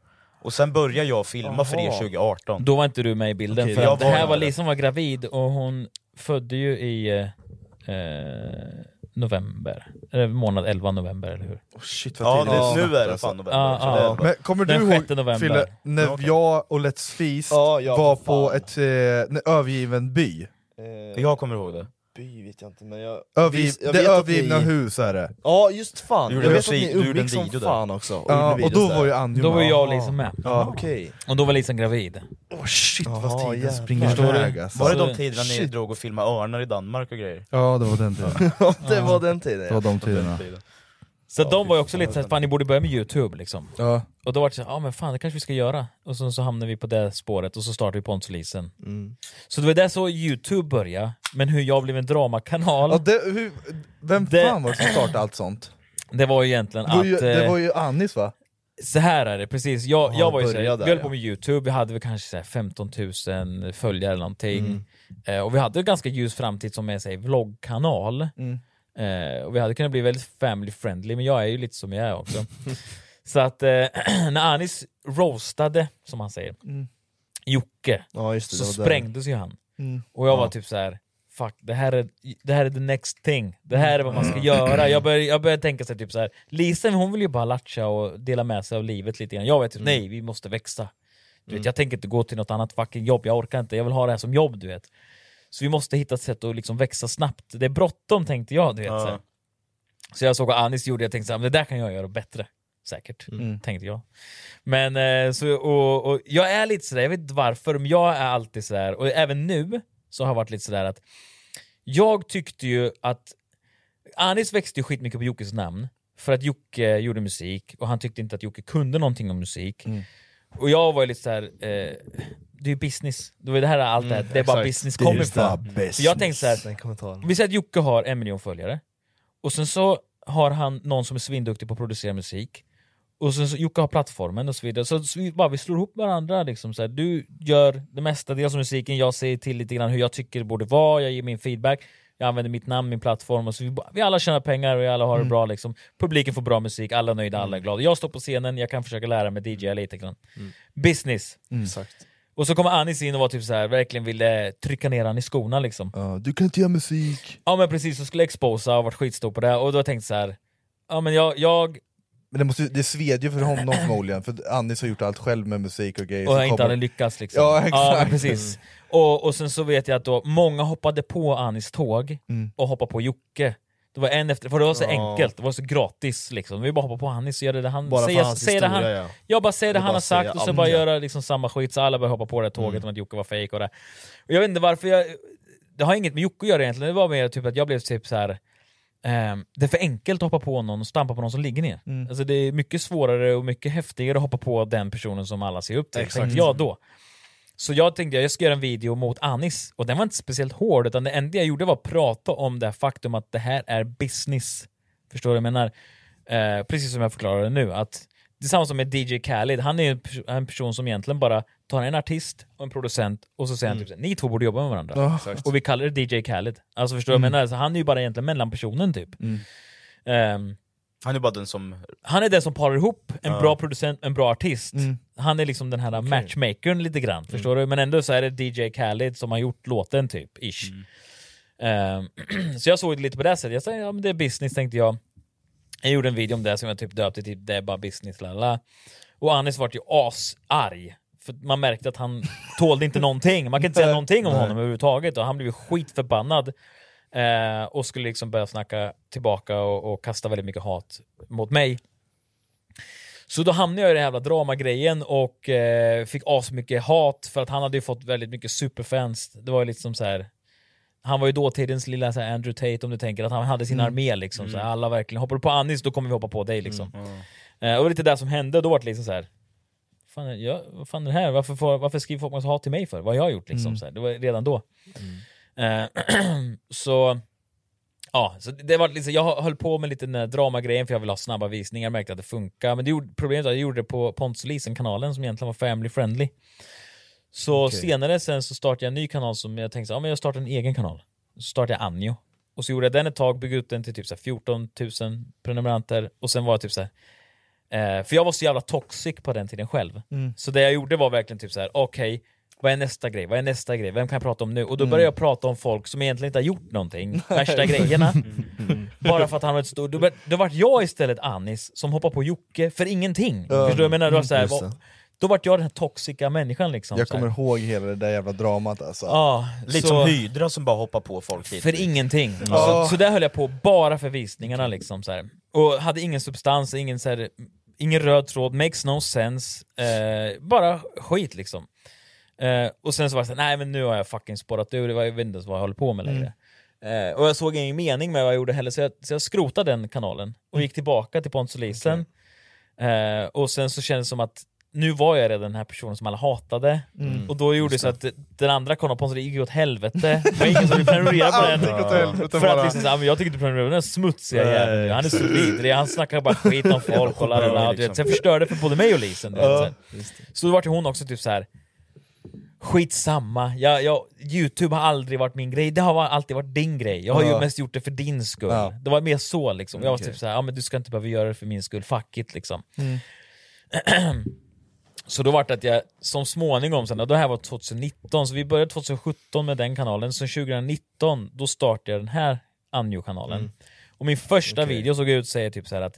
S3: Och sen började jag filma för er
S1: Jaha.
S3: 2018.
S1: Då var inte du med i bilden,
S3: Okej,
S1: för
S3: jag
S1: att det här
S3: var
S1: var
S3: med.
S1: Lisa som var gravid och hon födde ju i eh, eh, november. Eller månad 11 november, eller hur?
S4: Shit
S3: Oh, vad Ja, tidigt. alltså. det- nu är
S4: alltså.
S3: det fan november,
S1: Ja,
S3: så
S1: ja.
S3: det är det bara.
S4: Men kommer du
S1: Den
S4: ihåg
S1: sjätte november.
S4: Fille, när
S1: Ja, okej.
S4: jag och Let's Feast
S3: Ja, ja,
S4: var
S3: för
S4: på ett eh, en övergiven by?
S3: Jag kommer ihåg det.
S2: by vet jag inte men jag...
S4: Övergiv-
S2: vis- jag
S4: det
S2: vet att
S4: övergivna hus är det.
S2: Ja just fan,
S4: Du
S2: jag
S4: gjorde en
S2: vet att
S4: musik-
S2: ni
S4: du gjorde en
S2: umgicks som
S4: video där.
S2: fan också och
S4: Ja,
S2: gjorde
S4: och då
S2: videos
S4: var
S2: där.
S4: ju Andy
S1: Då var
S4: med.
S1: jag liksom med.
S4: Ja.
S2: Okej.
S1: Och då var Lisen gravid.
S2: Åh shit
S4: vad tiden springer iväg, alltså.
S3: Var det de
S4: Shit.
S3: tiderna ni drog och filmade örnar i Danmark och grejer?
S4: Ja, det var den tiden.
S3: Ja,
S2: det var den tiden,
S4: Det var de tiderna.
S1: Så de var ju också lite såhär, fan ni borde börja med youtube liksom.
S4: Ja.
S1: Och då var det såhär, ja men fan det kanske vi ska göra. Och sen så hamnade vi på det spåret och så startade vi Pontus och Lisen.
S4: Mm.
S1: Så det var där så youtube började, men hur jag blev en dramakanal.
S4: Ja, det, hur, vem fan var det som startade allt sånt?
S1: Det var ju egentligen
S4: Det var ju,
S1: att...
S4: det
S1: eh,
S4: var ju Annis va?
S1: Så här är det, precis. Jag,
S4: Ja,
S1: jag var ju så
S4: börja
S1: här,
S4: där,
S1: vi höll
S4: ja.
S1: på med Youtube, vi hade väl kanske så här 15 000 följare eller någonting.
S4: Mm.
S1: Eh, och vi hade en ganska ljus framtid som en så här vloggkanal.
S4: Mm.
S1: Eh, och vi hade kunnat bli väldigt family friendly, men jag är ju lite som jag är också. så att eh, när Anis roastade, som han säger,
S4: Mm.
S1: Jocke,
S2: Ja, just det,
S1: så
S2: det var där.
S1: sprängdes ju han.
S4: Mm.
S1: Och jag var
S4: Ja.
S1: typ så här. Fuck, det här, är, det här är the next thing. Det här är vad man ska
S2: Mm.
S1: göra. Jag började, jag började tänka så här, typ så här. Lisen hon vill ju bara latcha och dela med sig av livet lite grann. Jag vet typ,
S2: Mm.
S1: nej vi måste växa. Du
S4: Mm.
S1: vet, jag tänker inte gå till något annat fucking jobb, jag orkar inte. Jag vill ha det här som jobb du vet. Så vi måste hitta ett sätt att liksom växa snabbt. Det är bråttom tänkte jag. Du vet, så, här. så jag såg vad Anis gjorde jag tänkte så här, men det där kan jag göra bättre. Säkert,
S4: Mm.
S1: tänkte jag. Men eh, så, och, och jag är lite sådär, jag vet inte varför, men jag är alltid sådär, och även nu så har jag varit lite sådär att jag tyckte ju att Anis växte ju skitmycket på Jockes namn för att Jocke gjorde musik och han tyckte inte att Jocke kunde någonting om musik.
S2: Mm.
S1: Och jag var ju lite såhär, eh, det är ju business. Det var det här är allt det här,
S2: Mm,
S1: det är bara
S2: exakt.
S1: business
S2: Det är
S1: kommer
S2: just det här
S1: ifrån. För jag tänkte
S2: business. Den
S1: såhär,
S2: kommentaren.
S1: vi säger att Jocke har en miljon följare och sen så har han någon som är svinduktig på att producera musik och sen så Jocke har plattformen och så vidare. Så, så vi, bara, vi slår ihop varandra. Liksom, så här. Du gör det mesta dels av musiken, jag säger till lite grann hur jag tycker det borde vara, jag ger min feedback, jag använder mitt namn, min plattform. Och så vi, bara- vi alla tjänar pengar och vi alla har det
S4: Mm.
S1: bra. Liksom. Publiken får bra musik, alla är nöjda, alla är glada. Jag står på scenen, jag kan försöka lära mig DJ lite grann. Business. Och så kommer Anis in och var typ så här, verkligen ville trycka ner han i skorna liksom.
S4: Du kan inte göra musik.
S1: Ja men precis, så skulle jag exposa och varit skitstor på det. Och då tänkte jag så här, ja men jag, jag
S4: Men det, måste, ju- det sved ju för honom förmodligen, för Annis har gjort allt själv med musik och grejer.
S1: Och
S4: så
S1: jag inte
S4: kommer-
S1: hade lyckats liksom.
S4: Ja exakt.
S1: men precis. Och, och sen så vet jag att då många hoppade på Anis tåg
S4: Mm.
S1: och hoppade på Jocke. Det var en efter, för det var så
S4: Ja.
S1: enkelt, det var så gratis liksom. Vi bara hoppar på Anis och gör det där han
S2: Bara för
S1: säger.
S2: hans
S1: säger det han,
S2: historia, ja.
S1: Jag bara säger det
S2: Eller
S1: han
S2: bara
S1: har sagt
S2: säga
S1: och så
S2: om
S1: bara
S2: det.
S1: göra liksom samma skit så alla börjar hoppa på det här tåget om att Jocke var fejk och det. Och jag vet inte varför jag... Det har inget med Jocke att göra egentligen, det var mer typ att jag blev typ så här. ehm, det är för enkelt att hoppa på någon och stampa på någon som ligger ner.
S4: Mm.
S1: Alltså det är mycket svårare och mycket häftigare att hoppa på den personen som alla ser upp till,
S4: Exakt.
S1: tänkte jag då. Så jag tänkte jag ska göra en video mot Anis, och den var inte speciellt hård, utan det enda jag gjorde var att prata om det här faktum att det här är business. Förstår du vad jag menar? Eh, precis som jag förklarade nu, att det är samma som med DJ Khaled, han är ju en, pers- en person som egentligen bara tar en artist och en producent och så säger han typ så här, ni två borde jobba med varandra.
S4: Mm. Ja. Exakt.
S1: Och vi kallar det DJ Khaled. Alltså förstår du vad jag
S3: Mm.
S1: menar? Så han är ju bara egentligen mellanpersonen typ.
S4: Mm.
S1: Ehm,
S3: Han är bara den som...
S1: han är den som parar ihop en
S3: Ja.
S1: bra producent en bra artist. Han är liksom den här matchmakern lite grann, förstår du? Men ändå så är det DJ Khaled som har gjort låten typ, ish. Ehm, så jag såg det lite på det här sättet. Jag sa, ja men det är business tänkte jag. Jag gjorde en video om det som jag typ döpte till Det är bara business, lala. Och Anis vart ju asarg. För att man märkte att han tålde inte någonting. Man kan inte säga någonting om
S4: Nej.
S1: honom överhuvudtaget. Och han blev ju skitförbannad. Eh, och skulle liksom börja snacka tillbaka och, och kasta väldigt mycket hat mot mig. Så då hamnade jag i den här jävla dramagrejen och eh, fick asmycket hat för att han hade ju fått väldigt mycket superfans. Det var ju liksom så här. Han var ju dåtidens lilla så här, Andrew Tate om du tänker att han hade sin
S4: Mm.
S1: armé liksom. Så här,
S4: Mm.
S1: alla verkligen, hoppar du på Anis då kommer vi hoppa på dig liksom. Eh, och det var lite det som hände, då var det liksom så här. Fan, jag, vad fan är det här? Varför, får, varför skriver folk massa hat till mig för? Vad har jag gjort liksom?
S4: Mm.
S1: Så här, det var redan då. Eh, så ja, så det var liksom, jag höll på med lite den här dramagrejen för jag ville ha snabba visningar, märkte att det funkar. Men det gjorde, problemet var att jag gjorde det på Pontus och Lisen-kanalen som egentligen var family friendly. Så
S4: Okej.
S1: senare sen så startade jag en ny kanal som jag tänkte så, ja, men jag startar en egen kanal. Så startade jag Anjo. Och så gjorde jag den ett tag, byggde ut den till typ så här 14 000 prenumeranter. Och sen var jag typ så här, Eh, för jag var så jävla toxic på den tiden själv.
S4: Mm.
S1: Så det jag gjorde var verkligen typ så här: okej, vad är nästa grej? Vad är nästa grej? Vem kan jag prata om nu? Och då
S4: Mm.
S1: började jag prata om folk som egentligen inte har gjort någonting, värsta grejerna.
S4: Mm.
S1: Bara för att han var ett stor... Då, bör- då vart jag istället Anis som hoppar på Jocke för ingenting. Förstår du vad jag menar? Då, så här,
S4: just
S1: vad, Då vart jag den här toxiska människan liksom.
S4: Jag
S1: så här.
S4: kommer ihåg hela det där jävla dramat alltså.
S1: Ja,
S4: Lite
S1: så-
S4: som
S3: Hydra som bara hoppar på folk hit.
S1: För ingenting.
S3: Ja.
S1: Så, så där höll jag på, bara för visningarna liksom. Så här. Och hade ingen substans, ingen, så här, ingen röd tråd, makes no sense. Eh, bara skit liksom. Eh, och sen så var det såhär, nej men nu har jag fucking spårat ur, det var- jag vet inte ens vad jag håller på med längre. Eh, och jag såg ingen mening med vad jag gjorde heller, så jag, så jag skrotade den kanalen
S4: Mm.
S1: och gick tillbaka till Pontus och Lisen. Eh, och sen så kändes det som att nu var jag redan den här personen som alla hatade,
S4: Mm.
S1: och då gjorde det så att den andra kanalen Pontus gick ju åt helvete, det var ingen som ville prenumerera på den.
S4: Allt gick åt helvete
S1: För att
S4: bara.
S1: liksom, så här, men jag tycker inte prenumerera på den här smutsiga
S4: Nej.
S1: jäveln, han är så vidrig, han snackar bara skit om folk och lalala. Du vet, Så jag förstörde för både mig och Lisen. Du vet,
S4: liksom. Ja.
S1: så här. så då vart ju hon också typ så här. Skitsamma, jag, jag, Youtube har aldrig varit min grej, det har va- alltid varit din grej. Jag har
S4: Ja.
S1: ju mest gjort det för din skull.
S4: Ja.
S1: Det var mer så liksom. Jag var
S4: Okej.
S1: typ såhär, ja men du ska inte behöva göra det för min skull, fuck it liksom.
S4: Mm.
S1: så då vart det att jag, som småningom sen, och det här var 2019, så vi började 2017 med den kanalen, så 2019 då startade jag den här Anjo-kanalen.
S4: Mm.
S1: Och min första video såg ut att säga typ så här att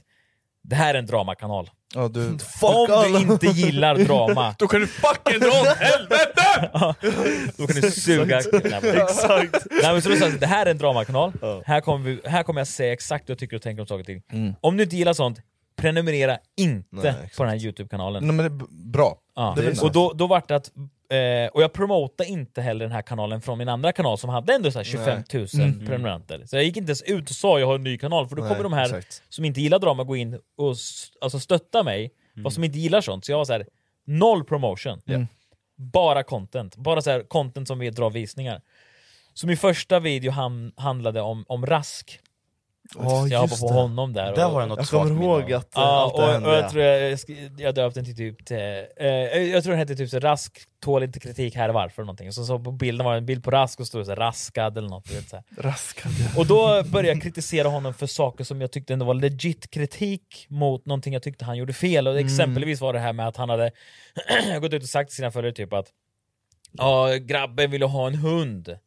S1: det här är en dramakanal.
S4: Ja, du...
S1: Om du inte gillar drama,
S4: Då kan du fucking dra åt helvete!
S1: Då kan du suga
S4: Exakt.
S1: Nej, men så du sa, det här är en dramakanal, här, kommer vi, här kommer jag säga exakt vad jag tycker och tänker om saker och ting.
S4: Mm.
S1: Om du inte gillar sånt, prenumerera inte
S4: Nej, exakt.
S1: på den här Youtube-kanalen.
S4: Nej, men det är b- bra.
S1: Ja.
S4: Det är väl
S1: och
S4: nice.
S1: då, då vart det att, eh, och jag promotade inte heller den här kanalen från min andra kanal som hade ändå så här 25 000
S4: Nej. Mm.
S1: prenumeranter. Så jag gick inte ens ut och sa jag har en ny kanal, för då
S4: Nej,
S1: kommer de här
S4: exakt.
S1: som inte gillar drama gå in och s- alltså, stötta mig, och som inte gillar sånt. Så jag var så här, noll promotion.
S4: Mm.
S1: Bara content. Bara så här, content som vi drar visningar. Så min första video han, handlade om, om Rask.
S2: Ja,
S1: jag hoppade
S2: just
S1: på
S2: det.
S1: honom där.
S2: Där var det något
S1: jag
S2: svagt
S1: kommer
S2: minne
S1: ihåg
S2: av.
S1: att
S2: Ja,
S4: eh,
S1: ja,
S2: allt det hände,
S1: och, och
S2: ja.
S1: jag tror jag, jag, sk- jag döpte den till typ till, eh, Jag tror den hette typ så här, Rask tål inte kritik här varför eller någonting. Så, så på bilden var det en bild på Rask och stod det så här, raskad eller något. Du vet, så här.
S4: Raskad.
S1: Och då började jag kritisera honom för saker som jag tyckte ändå var legit kritik mot någonting jag tyckte han gjorde fel. Och
S4: Mm.
S1: Exempelvis var det här med att han hade gått ut och sagt till sina följare typ att ja, grabben ville ha en hund.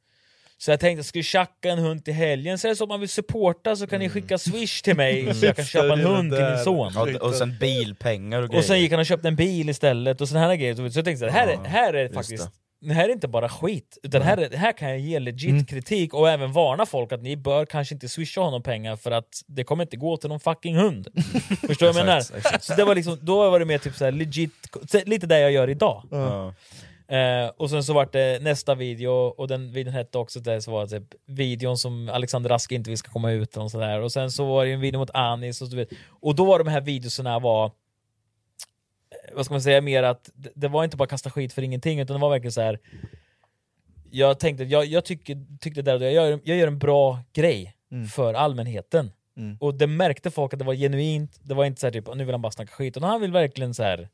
S1: Så jag tänkte, ska jag tjacka en hund till helgen? Så är det så om man vill supporta så kan
S2: Mm.
S1: ni skicka swish till mig så jag kan köpa en hund till min son.
S3: Ja, och sen bilpengar och grejer.
S1: Och sen gick han och köpte en bil istället och sådana här grejer. Så jag tänkte så här, här, är- här är
S3: just
S1: faktiskt det här är inte bara skit, utan här, är- här kan jag ge legit
S3: Mm.
S1: kritik och även varna folk att ni bör kanske inte swisha honom pengar för att det kommer inte gå till någon fucking hund. Förstår du vad jag menar?
S3: Mm. Exakt, exakt.
S1: Så det var liksom, då var det mer typ så här legit, så lite det jag gör idag.
S3: Ja.
S1: Eh, och sen så vart det nästa video, och den videon hette också det så var det typ videon som Alexander Rask inte vill ska komma ut och sådär. Och sen så var det en video mot Anis och så vet. Och då var de här videorna var eh, vad ska man säga, mer att det- det var inte bara kasta skit för ingenting, utan det var verkligen så här. Jag tänkte, jag, jag tycker, tyckte där och då, jag gör, jag gör en bra grej
S4: Mm.
S1: för allmänheten.
S4: Mm.
S1: Och det märkte folk att det var genuint, det var inte så här typ, nu vill han bara snacka skit, utan han vill verkligen så här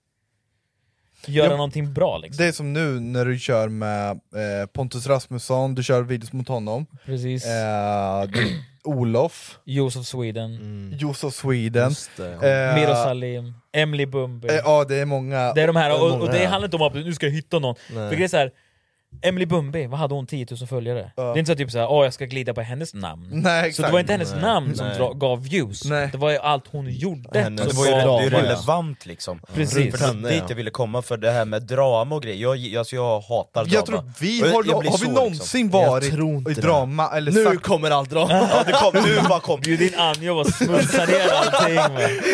S1: göra
S4: Ja,
S1: någonting bra liksom.
S4: Det är som nu när du kör med eh, Pontus Rasmusson, du kör videos mot honom.
S1: Precis.
S4: Eh, du, Olof.
S1: Josef Sweden.
S4: Josef Sweden. Mm. Eh,
S1: Miro Salim, Emily Bumby.
S4: Eh, ja, det är många.
S1: Det är de här, och, och det
S4: många.
S1: handlar inte om att nu ska jag hitta någon.
S4: Nej.
S1: För det är så här, Emily Bumby, vad hade hon? 10 000 följare? Det är inte så typ såhär, åh jag ska glida på hennes namn.
S4: Nej,
S1: så det
S4: exakt.
S1: var inte hennes
S4: Nej.
S1: namn som
S4: Nej.
S1: dra, gav views, det var ju allt hon gjorde
S3: Hennes, det
S1: som
S3: var ju
S1: gav
S3: det är ju
S1: views.
S3: relevant liksom.
S1: Precis.
S3: För det var dit jag ville komma, för det här med drama och grejer. Jag, jag- alltså jag hatar drama.
S4: Jag tror vi
S3: Och jag-
S4: har,
S3: jag blir
S4: har
S3: så,
S4: vi
S3: liksom.
S4: någonsin
S3: Jag
S4: varit
S3: tror inte
S4: i
S3: det.
S4: drama eller
S3: Nu
S4: kommer allt drama!
S3: Ja, det kom, nu bara kom.
S1: Bjud in Anjo och smutsa ner allting. va.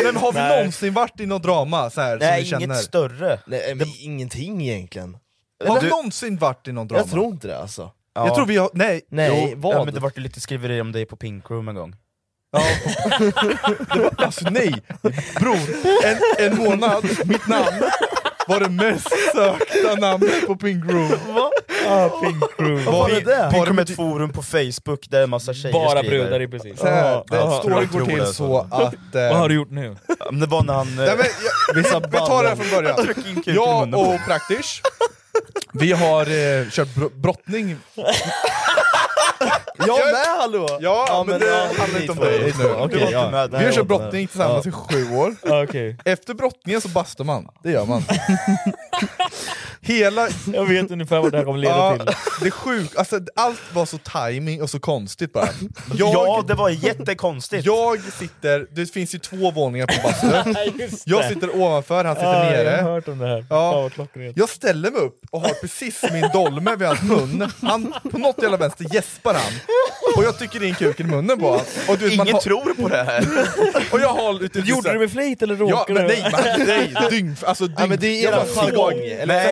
S4: Men har vi
S1: Nej.
S4: någonsin varit i något drama så här,
S2: Nej,
S4: som vi
S2: inget
S4: känner?
S3: större.
S2: Nej, men ingenting egentligen.
S4: Har vi
S2: Du-
S4: någonsin varit i något drama?
S2: Jag tror inte det alltså.
S3: Ja.
S4: Jag tror vi har, nej,
S3: Nej,
S4: jo,
S3: vad? Ja, men det vart ju lite skriverier om dig på Pink Room en gång.
S4: Det var, alltså nej! Bror, en, en månad, mitt namn var det mest sökta namnet på Pink Room.
S1: Ah, Pink Room.
S3: Var
S4: det
S3: det
S4: det?
S3: det?
S4: Var
S3: Pink
S4: det
S3: Room är
S4: med-
S3: ett forum på Facebook där en massa tjejer
S1: Bara
S3: skriver.
S1: brudar i princip.
S4: Så här,
S3: Ja,
S4: det
S3: ja,
S4: står-
S3: jag
S4: går
S3: tror
S4: till
S3: det,
S4: så att, eh,
S1: Vad har du gjort nu?
S3: Ja, men Det var när han...
S4: Nej, men, jag, vi,
S3: Vissa
S4: vi tar det här från början.
S3: Jag trycker in kuken i
S4: Jag
S3: munnen.
S4: och Praktisch, vi har eh, kört br- brottning. Jag med hallå! Ja, men,
S2: men,
S4: det
S2: ja,
S4: handlar
S2: ni
S4: inte om
S2: två.
S4: dig
S2: Ni
S4: nu.
S2: två, okej,
S4: Du var inte
S2: ja.
S4: med.
S2: Nej,
S4: Vi har
S2: jag
S4: kört
S2: var inte
S4: brottning
S2: med.
S4: tillsammans
S2: Ja.
S4: i sju år.
S1: Ah, Okej.
S4: Efter brottningen så bastar man, det gör man. Hela...
S1: Jag vet ungefär vad det här kommer leda
S4: Ja,
S1: till.
S4: Det är sjukt, alltså, allt var så timing och så konstigt bara.
S3: Ja, det
S4: var jättekonstigt. Jag sitter, det finns ju två våningar på bastun.
S1: Just det.
S4: jag sitter ovanför, han sitter
S1: Ah,
S4: nere.
S1: Jag har hört om det här.
S4: Ja.
S1: Fan, vad klockrent.
S4: Jag ställer mig upp och har precis min dolme vid hans mun. Han, på något jävla vänster gäspar han. Och jag tycker in kuken i munnen på honom. Och du vet, man
S3: Ingen
S4: har-
S3: tror på det här.
S4: Och jag håller ut
S1: Gjorde du med flit eller
S4: Ja,
S1: råkade
S4: men
S1: du?
S4: nej, men, nej, dygn, alltså dygn.
S2: Ja, men det är
S4: jag
S2: era
S4: var
S2: jargong,
S4: såg-
S2: eller?
S4: Nej.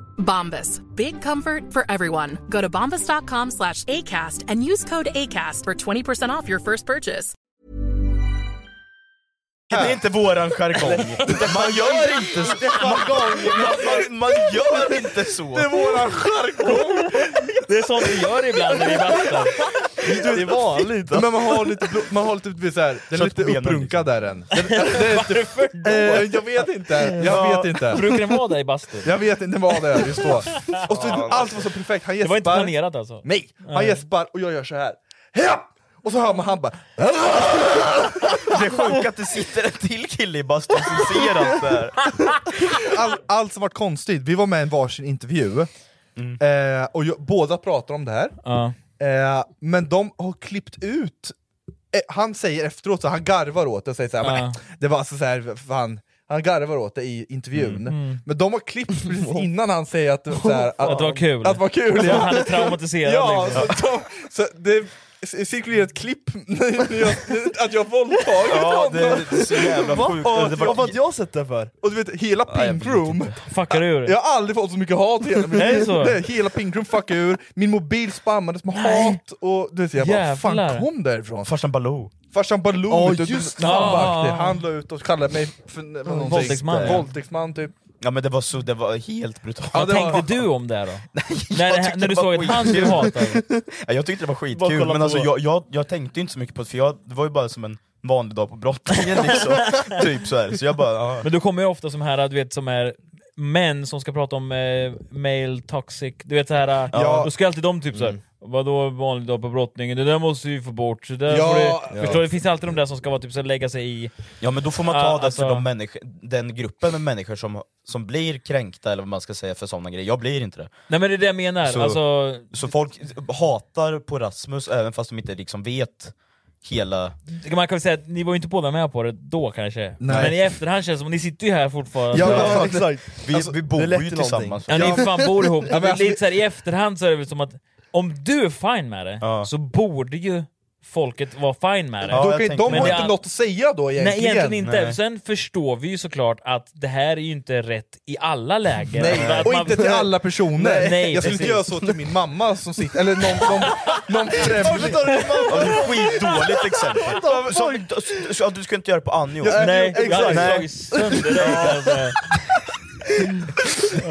S14: Bombas. Big comfort for everyone. Go to bombas.com slash ACAST and use code ACAST for 20% off your first purchase.
S3: Det är inte våran jargong. Man gör inte så. Man, man, man gör inte så.
S4: Det är våran jargong!
S1: Det är sånt vi gör ibland när vi bastar.
S4: Det är vanligt. Men man har lite, blo- man har lite, typ så här, den är lite upprunkad där än. Den, den är inte, eh, jag vet inte, jag
S1: Ja.
S4: vet inte.
S1: Brukar den vara där i bastun?
S4: Jag vet inte vad det är just då. Och så, allt var så perfekt, han
S1: Det
S4: gäspar.
S1: var inte planerat alltså?
S4: Nej, han
S1: Nej.
S4: gäspar och jag gör så här. Ja! Och så hör man han bara...
S3: Det är sjukt att det sitter en till kille i bastun som ser allt det här.
S4: All, allt som var konstigt, vi var med i en varsin intervju, eh, och jag, båda pratar om det här,
S1: Ja.
S4: eh, men de har klippt ut, eh, han säger efteråt, så han garvar åt det, och säger såhär,
S1: Ja.
S4: "Nej, det var alltså såhär, fan, han garvar åt det i intervjun,
S1: Mm.
S4: men de har klippt precis innan han säger att, det var så här,
S1: Att det var kul.
S4: Att det var kul ja.
S1: Att han är traumatiserad,
S4: ja,
S1: liksom.
S4: så, de, så det c- cirkulerar ett klipp när jag, att jag våldtagit
S3: Ja,
S4: honom!
S3: det- det är så jävla
S4: Va?
S3: sjukt.
S4: Och-
S3: Det var-
S4: Vad har jag sett det för? Och du vet, hela Pink Room
S1: Fuckar ur.
S4: jag har aldrig fått så mycket hat i hela mitt
S1: Är det så?
S4: Det är Hela pinkrum fuckade ur, min mobil spammades med hat och du vet, jag bara,
S1: Jävlar.
S4: fan kom därifrån? Farsan Baloo Farsan Baloo,
S3: Ja,
S4: vet du,
S3: just
S4: han
S3: det.
S4: var aktiv. han la ut och kallade mig för för någonting.
S3: Våldtäktsman, ja.
S4: Våldtäktsman typ
S3: Ja men det var, så, det var helt brutalt.
S4: Vad
S1: tänkte du om det här då?
S3: Jag
S1: när, det,
S3: tyckte
S1: här-
S3: det
S1: när du
S3: var
S1: såg att han skulle
S3: skitkul.
S1: hata dig?
S3: Ja, jag tyckte det var
S1: Bara
S3: skitkul,
S1: kolla
S3: men alltså,
S1: på.
S3: jag, jag, jag tänkte inte så mycket på det, för jag, det var ju bara som en vanlig dag på brottningen liksom. typ så här. Så jag bara, ja.
S1: Men du kommer ju ofta som här, du vet som är män som ska prata om eh, male toxic, du vet så här, eh,
S3: Ja. Mm.
S1: då ska alltid de typ såhär Vadå vanlig dag på brottningen? Det där måste vi få bort. Det där
S3: Ja.
S1: får du,
S3: Ja.
S1: Förstår du? Det finns alltid de där som ska vara typ så här, lägga sig i.
S3: ja men då får man ta
S1: Ja,
S3: det
S1: alltså.
S3: för de människ- den gruppen med människor som, som blir kränkta eller vad man ska säga för sådana grejer. Jag blir inte det.
S1: Nej men det är det jag menar.
S3: Så,
S1: Alltså,
S3: så folk hatar på Rasmus även fast de inte liksom vet hela...
S1: man kan väl säga att ni var ju inte båda med på det då kanske.
S3: Nej.
S1: Men i efterhand känns det som att ni sitter ju här fortfarande.
S3: Ja, men exakt. Vi- vi bor
S1: det är lätt
S3: ju
S1: till
S3: tillsammans.
S1: någonting. Ja, ni
S3: Ja.
S1: fan bor ihop.
S3: Ja, men
S1: Det är
S3: alltså,
S1: lite så här, I efterhand så är det väl som att om du är fine med det, så borde ju folket vara fine med det.
S4: Då kan, ju- De
S1: Men
S4: har
S1: det-
S4: inte något att säga då egentligen
S1: Nej egentligen inte. Sen förstår vi ju såklart att det här är ju inte rätt i alla lägen.
S4: Nej.
S1: Att
S4: Och
S1: man-
S4: inte till alla personer.
S1: Nej,
S4: jag skulle inte
S1: precis.
S4: göra så till min mamma som sitter, eller någon, någon, någon främling.
S3: Ja, det är ett Skitdåligt exempel!
S4: De-
S3: Som, så, du ska inte göra det på Anjo?
S4: Ja, Nej, jag hade exakt. slagit
S1: sönder dig alltså. kanske.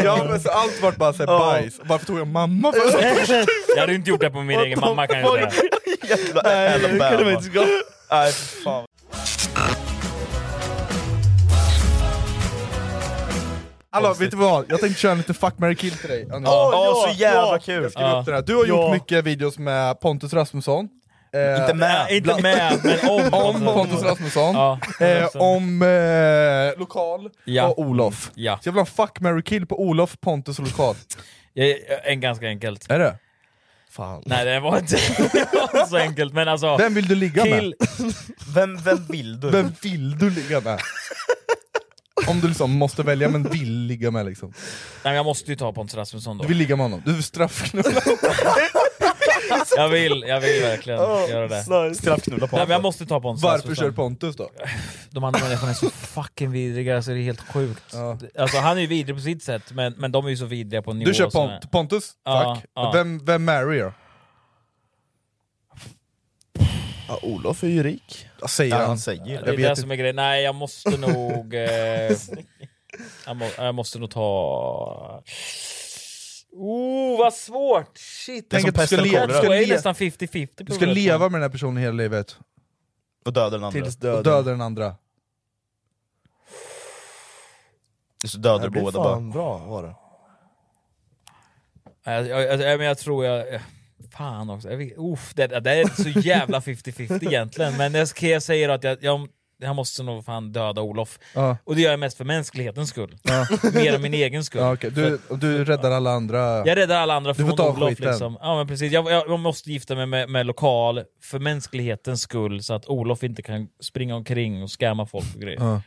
S4: Ja, men så allt vart bara såhär bajs, varför tog jag mamma för?
S1: Jag hade ju inte gjort det på min egen mamma kan jag säga.
S3: Jävla
S4: Nej, det kunde
S3: Alabama.
S4: man inte gå.
S3: Nej, för fan.
S4: Hallå, vet du vad? Jag tänkte köra en liten fuck, marry, kill till dig. Anna.
S3: Ja, ja, så jävla kul.
S4: Jag skriver
S3: Ja.
S4: upp den här. Du har gjort
S3: Ja.
S4: mycket videos med Pontus Rasmusson. Eh,
S3: Inte med.
S4: bland-
S3: Inte med, men om
S4: om
S1: Alltså,
S4: Pontus Rasmusson.
S3: Ja.
S4: Eh, om eh, Lokal
S1: Ja.
S4: och Olof.
S1: Ja.
S4: Så jag vill ha en fuck, marry, kill på Olof, Pontus och Lokal.
S1: Jag- En ganska enkelt.
S4: Är det? Fan.
S1: Nej det var inte så enkelt men alltså...
S4: Vem vill du ligga med?
S1: kill-
S3: Vem, vem vill du?
S4: Vem vill du ligga med? Om du liksom måste välja, men vill ligga med liksom.
S1: Nej men jag måste ju ta Pontus Rasmusson då.
S4: Du vill ligga med honom, du vill straffknulla.
S1: Jag vill, jag vill verkligen
S4: Åh,
S1: göra det.
S4: snark. Straffknulla Pontus.
S1: Nej, men jag måste ta Pontus.
S4: Varför
S1: Rasmusson.
S4: kör Pontus då?
S1: De andra människorna är så fucking vidriga, alltså det är helt sjukt. Alltså, han är ju vidrig på sitt sätt, men, men de är ju så vidriga på en nivå
S4: Du kör
S1: som
S4: Pont-
S1: är-
S4: Pontus,
S1: Ja,
S4: tack.
S1: ja.
S4: Vem, vem marrier?
S2: Ja, Olof är ju rik.
S4: Vad säger han?
S1: Det är
S4: Jag
S1: det
S4: vet
S1: som
S4: inte.
S1: är grejen. Nej, jag måste nog... Eh, jag, må, jag måste nog ta... Oh, vad svårt! Shit!
S4: Tänk att du ska, leva, du,
S1: Jag
S4: ska
S1: tror jag är
S4: le-
S1: nästan 50-50 på
S4: du ska
S1: det.
S4: leva med den här personen hela livet.
S3: Och döda den andra.
S4: Tills döden. Och döda den andra.
S3: Så dödar
S2: Det blir
S3: båda bara.
S2: fan bra var det.
S1: Nej, Alltså, Jag, jag, jag, men jag tror jag... eh, Fan också. Jag, vet- uff, det, det är så jävla 50-50 egentligen. Men jag, ska- jag säger att jag, jag, jag måste nog fan döda Olof.
S4: Ja.
S1: Och det gör jag mest för mänsklighetens skull. Mer än min egen skull.
S4: Ja, okej. du, och du räddar alla andra.
S1: Jag räddar alla andra
S4: Du
S1: från
S4: får ta
S1: Olof.
S4: skiten.
S1: Liksom. Ja, men precis. Jag, jag, jag måste gifta mig med, med lokal för mänsklighetens skull så att Olof inte kan springa omkring och skämma folk och grejer.
S4: Ja.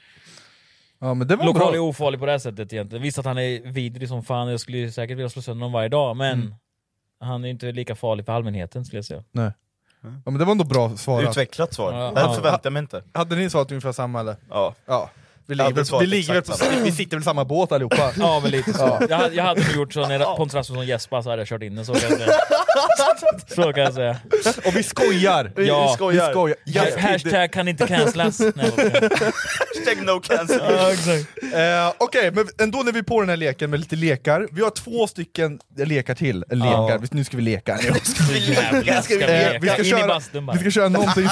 S4: Ja, men det var
S1: lokal
S4: bra.
S1: är ofarlig på det här sättet egentligen. Visst att han är vidrig som fan, jag skulle ju säkert vilja slå sönder honom varje dag, men han är inte lika farlig för allmänheten skulle jag säga.
S4: Nej. Ja, men det var ändå bra svarat.
S3: Utvecklat svar.
S1: Ja.
S3: Det här förväntar jag mig inte.
S4: Hade ni svarat ungefär samma eller?
S3: Ja.
S4: ja. Vi,
S3: Jag
S4: ligger,
S3: hade
S4: väl- vi,
S3: svarat
S4: ligger väl på,
S3: exakt samma.
S4: vi sitter väl i samma båt allihopa?
S1: Ja men lite så.
S4: Ja.
S1: Jag, hade- jag hade nog gjort så när Pontus Rasmusson gäspade så hade jag kört in den, så kan jag säga. Så kan jag säga.
S4: Och vi skojar!
S1: Ja.
S4: Vi skojar! Vi skojar.
S1: Ha- Hashtag kan inte cancellas. Nej, vad ska jag-
S3: Hashtag no cancel.
S4: Eh, Okej, men ändå när vi är på den här leken med lite lekar, vi har två stycken lekar till. Eh, Lekar,
S3: Ja.
S4: Vi- nu ska vi leka. Nu
S3: ska vi leka. Ska vi
S4: Eh,
S3: leka?
S4: vi ska
S3: In i
S4: köra-
S3: bastun bara.
S4: Vi ska köra någonting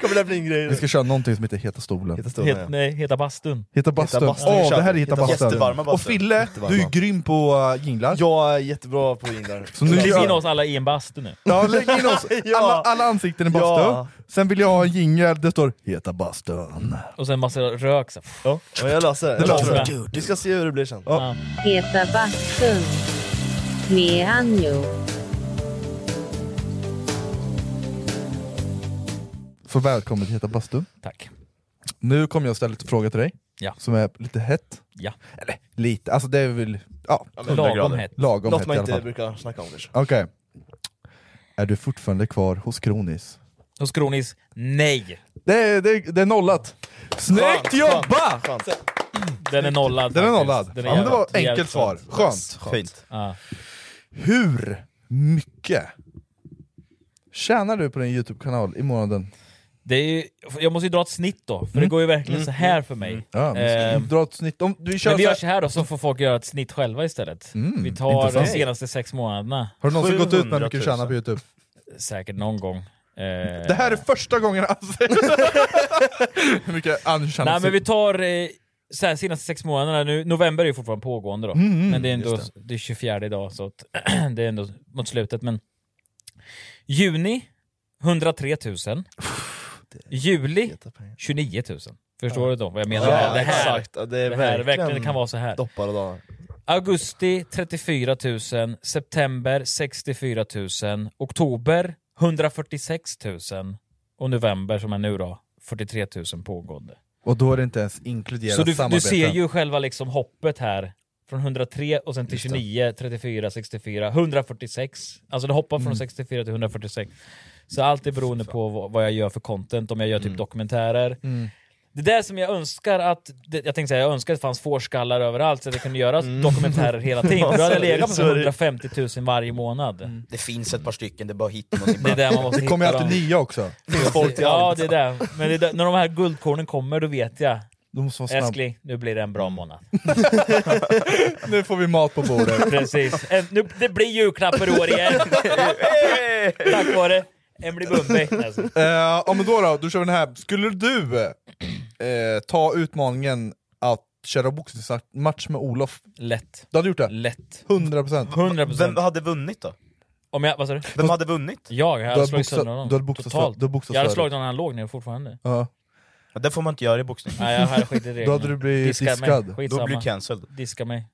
S2: Kommer det bli en grej?
S4: Vi ska köra någonting som heter Heta stolen. Heta,
S1: Het, nej, heta bastun.
S4: Heta bastun. Åh, det här är Heta bastun. Och Fille,
S1: Jättevarma.
S4: du är grym på uh, jinglar.
S2: Jag är jättebra på jinglar.
S4: Så nu
S1: Lägg
S4: gör-
S1: in oss alla i en bastu nu.
S4: Ja, lägg in oss.
S1: Ja.
S4: Alla, alla ansikten i bastun.
S1: Ja.
S4: Sen vill jag ha en jingel, det står Heta bastun.
S1: Och sen massa rök. Så.
S2: Ja, jag löser det.
S4: Det
S2: Jag
S4: löser
S2: löser
S4: du.
S2: det. Vi ska se hur det blir sen.
S15: Heta bastun med Anjo.
S4: Så välkommen till Heta bastun.
S1: Tack.
S4: Nu kommer jag ställa lite fråga till dig,
S1: Ja.
S4: som är lite hett.
S1: Ja.
S4: Eller lite, alltså det är väl... Ja,
S2: Ja, men
S1: lagom hett.
S4: Lagom
S2: Något
S4: hett
S2: man
S4: i
S2: inte
S4: alla fall.
S2: brukar snacka om kanske.
S4: Okej. Är du fortfarande kvar hos Kronis?
S1: Hos Kronis, nej!
S4: Det är, det är, det är nollat! Snyggt jobbat!
S1: Den är nollad.
S4: Den är
S1: faktiskt.
S4: nollad.
S1: Den är
S4: ja, men det var
S1: jävligt-
S4: ett
S1: jävligt
S4: enkelt svar. Skönt.
S3: Fint.
S1: Ja.
S4: Hur mycket tjänar du på din YouTube-kanal i månaden?
S1: Det är ju, jag måste ju dra ett snitt då, för det
S4: Mm.
S1: går ju verkligen
S4: Mm.
S1: så här för mig.
S4: Ja, men
S1: Ehm,
S4: dra ett snitt. Om, du kör
S1: men vi
S4: så
S1: gör
S4: här-
S1: så här då, så får folk göra ett snitt själva istället.
S4: Mm,
S1: vi tar
S4: intressant.
S1: de senaste sex månaderna.
S4: Har du någonsin gått ut med hur mycket du tjänar på
S1: 700 000?
S4: YouTube?
S1: Säkert någon gång. Ehm,
S4: Det här är
S1: Eh.
S4: första gången alltså. Hur mycket Anders tjänar
S1: Nej
S4: på
S1: men vi
S4: sitt-
S1: tar eh, så här, senaste sex månaderna, nu, november är ju fortfarande pågående då,
S4: Mm, mm,
S1: men det är ändå
S4: just
S1: det. är 24 idag så att det är ändå mot slutet. Men juni 103 000, juli 29 000. Förstår du då vad jag menar?
S2: Ja,
S1: det här, det här,
S2: exakt. Ja, det är
S1: det här verkligen, det
S2: verkligen
S1: kan vara så här.
S2: Doppar och dagar.
S1: Augusti 34 000, september 64 000, oktober 146 000 och november som är nu då 43 000 pågående.
S4: Och då är det inte ens inkluderat
S1: Så du, du
S4: samarbeten.
S1: ser ju själva liksom hoppet här. Från 103 och sen till 29, 34, 64, 146. Alltså det hoppar från
S4: Mm.
S1: 64 till 146. Så allt är beroende på vad, vad jag gör för content, om jag gör typ dokumentärer.
S4: Mm.
S1: Det där som jag önskar att, det, jag tänkte säga, jag önskar att det fanns fårskallar överallt så att jag kunde göra
S3: Mm.
S1: dokumentärer hela tiden. För Då hade jag legat på
S3: Så är det.
S1: 150 000 varje månad.
S3: Mm. Det finns ett par stycken, det är bara att hitta någonting
S1: Det är där man måste
S4: Det kommer ju
S1: hitta
S4: alltid
S1: dem.
S4: nya också.
S1: Ja, det är det. Men det är där, när de här guldkornen kommer, då vet jag.
S4: De måste vara snabb.
S1: Älskling, nu blir det en
S3: Mm.
S1: bra månad.
S4: Nu får vi mat på bordet.
S1: Precis. En, nu, det blir julklappar i år igen. Tack vare Emily Bumbi. Alltså.
S4: Eh, ja men då då, då kör vi den här. Skulle du eh, ta utmaningen att köra boxningsmatch med Olof?
S1: Lätt.
S4: Du hade gjort det?
S1: Lätt.
S4: 100%.
S1: 100%.
S3: Vem hade vunnit då?
S1: Om jag, vad sa du?
S3: Vem hade vunnit?
S1: Jag, jag
S3: Du
S1: hade
S3: har
S1: slagit
S3: boxat-
S1: sönder honom.
S3: du har boxat
S1: Totalt.
S3: för- du har boxat
S1: jag hade
S3: förut.
S1: slagit honom när han låg ner fortfarande.
S3: Ja, det får man inte göra i boxning.
S1: Nej, jag hade skitit i reglerna. Diska Mig.
S3: Då
S1: Skitsamma.
S3: blir du cancelled.
S1: Diska mig. alltså.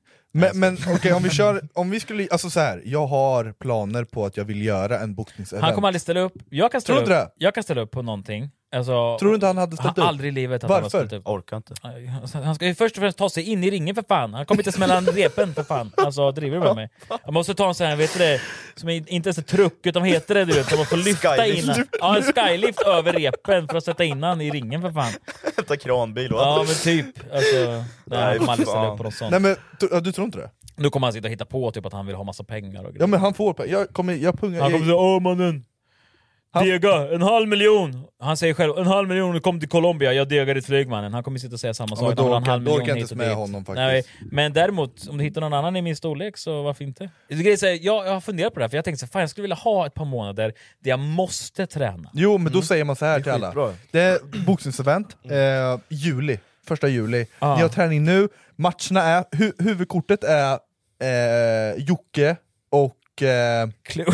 S4: Men, men okej, om vi kör, om vi skulle, alltså så här, jag har planer på att jag vill göra en boxningsevent.
S1: Han kommer aldrig ställa upp. Jag kan
S4: Tror
S1: ställa
S4: du
S1: upp. Jag kan ställa upp på någonting. Eh, Alltså,
S4: Tror du inte han hade ställt upp?
S1: Aldrig i livet att han
S4: Varför?
S1: hade ställt upp.
S3: Orkar inte.
S1: Alltså, Han ska ju först och främst ta sig in i ringen för fan. Han kommer inte smälla en repen för fan. Alltså driver du med mig? Han måste ta en sån här, vet du det, som är inte ens är truck utan vad heter det du vet, som man får lyfta in.
S3: Skylift.
S1: han. Ja, en skylift över repen för att sätta in han i ringen för fan.
S3: Hämta kranbil och
S1: Ja
S3: allt.
S1: men typ. Alltså, nej,
S3: Nej,
S1: man aldrig
S3: fan.
S1: ställa upp på något sånt.
S4: Nej men, tro- ja, du tror inte det?
S1: Nu kommer han sitta och hitta på typ att han vill ha massa pengar och grejer.
S4: Ja men han får, pe- jag kommer, jag pungar...
S1: Han kommer säga åh mannen, dega, en halv miljon! Han säger själv en halv miljon, kom till Colombia, jag degar ditt flyg mannen. Han kommer sitta och säga samma
S4: Ja,
S1: sak.
S4: men då
S1: Han vill ha en
S4: orkar-
S1: halv
S4: då orkar
S1: miljon
S4: jag
S1: hit
S4: inte
S1: och
S4: med
S1: dit.
S4: honom faktiskt.
S1: Nej, men däremot, om du hittar någon annan i min storlek så varför inte? Det är grejer, så här, jag, jag har funderat på det här, för jag tänkte så här, fan jag skulle vilja ha ett par månader där jag måste träna.
S4: Jo men då
S1: Mm.
S4: säger man så här till
S1: skitbra.
S4: alla. Det är boxningsevent, eh, juli, första juli.
S1: Mm. Ah.
S4: Ni har träning nu, matcherna är, hu huvudkortet är eh, Jocke och... Eh,
S1: Clue.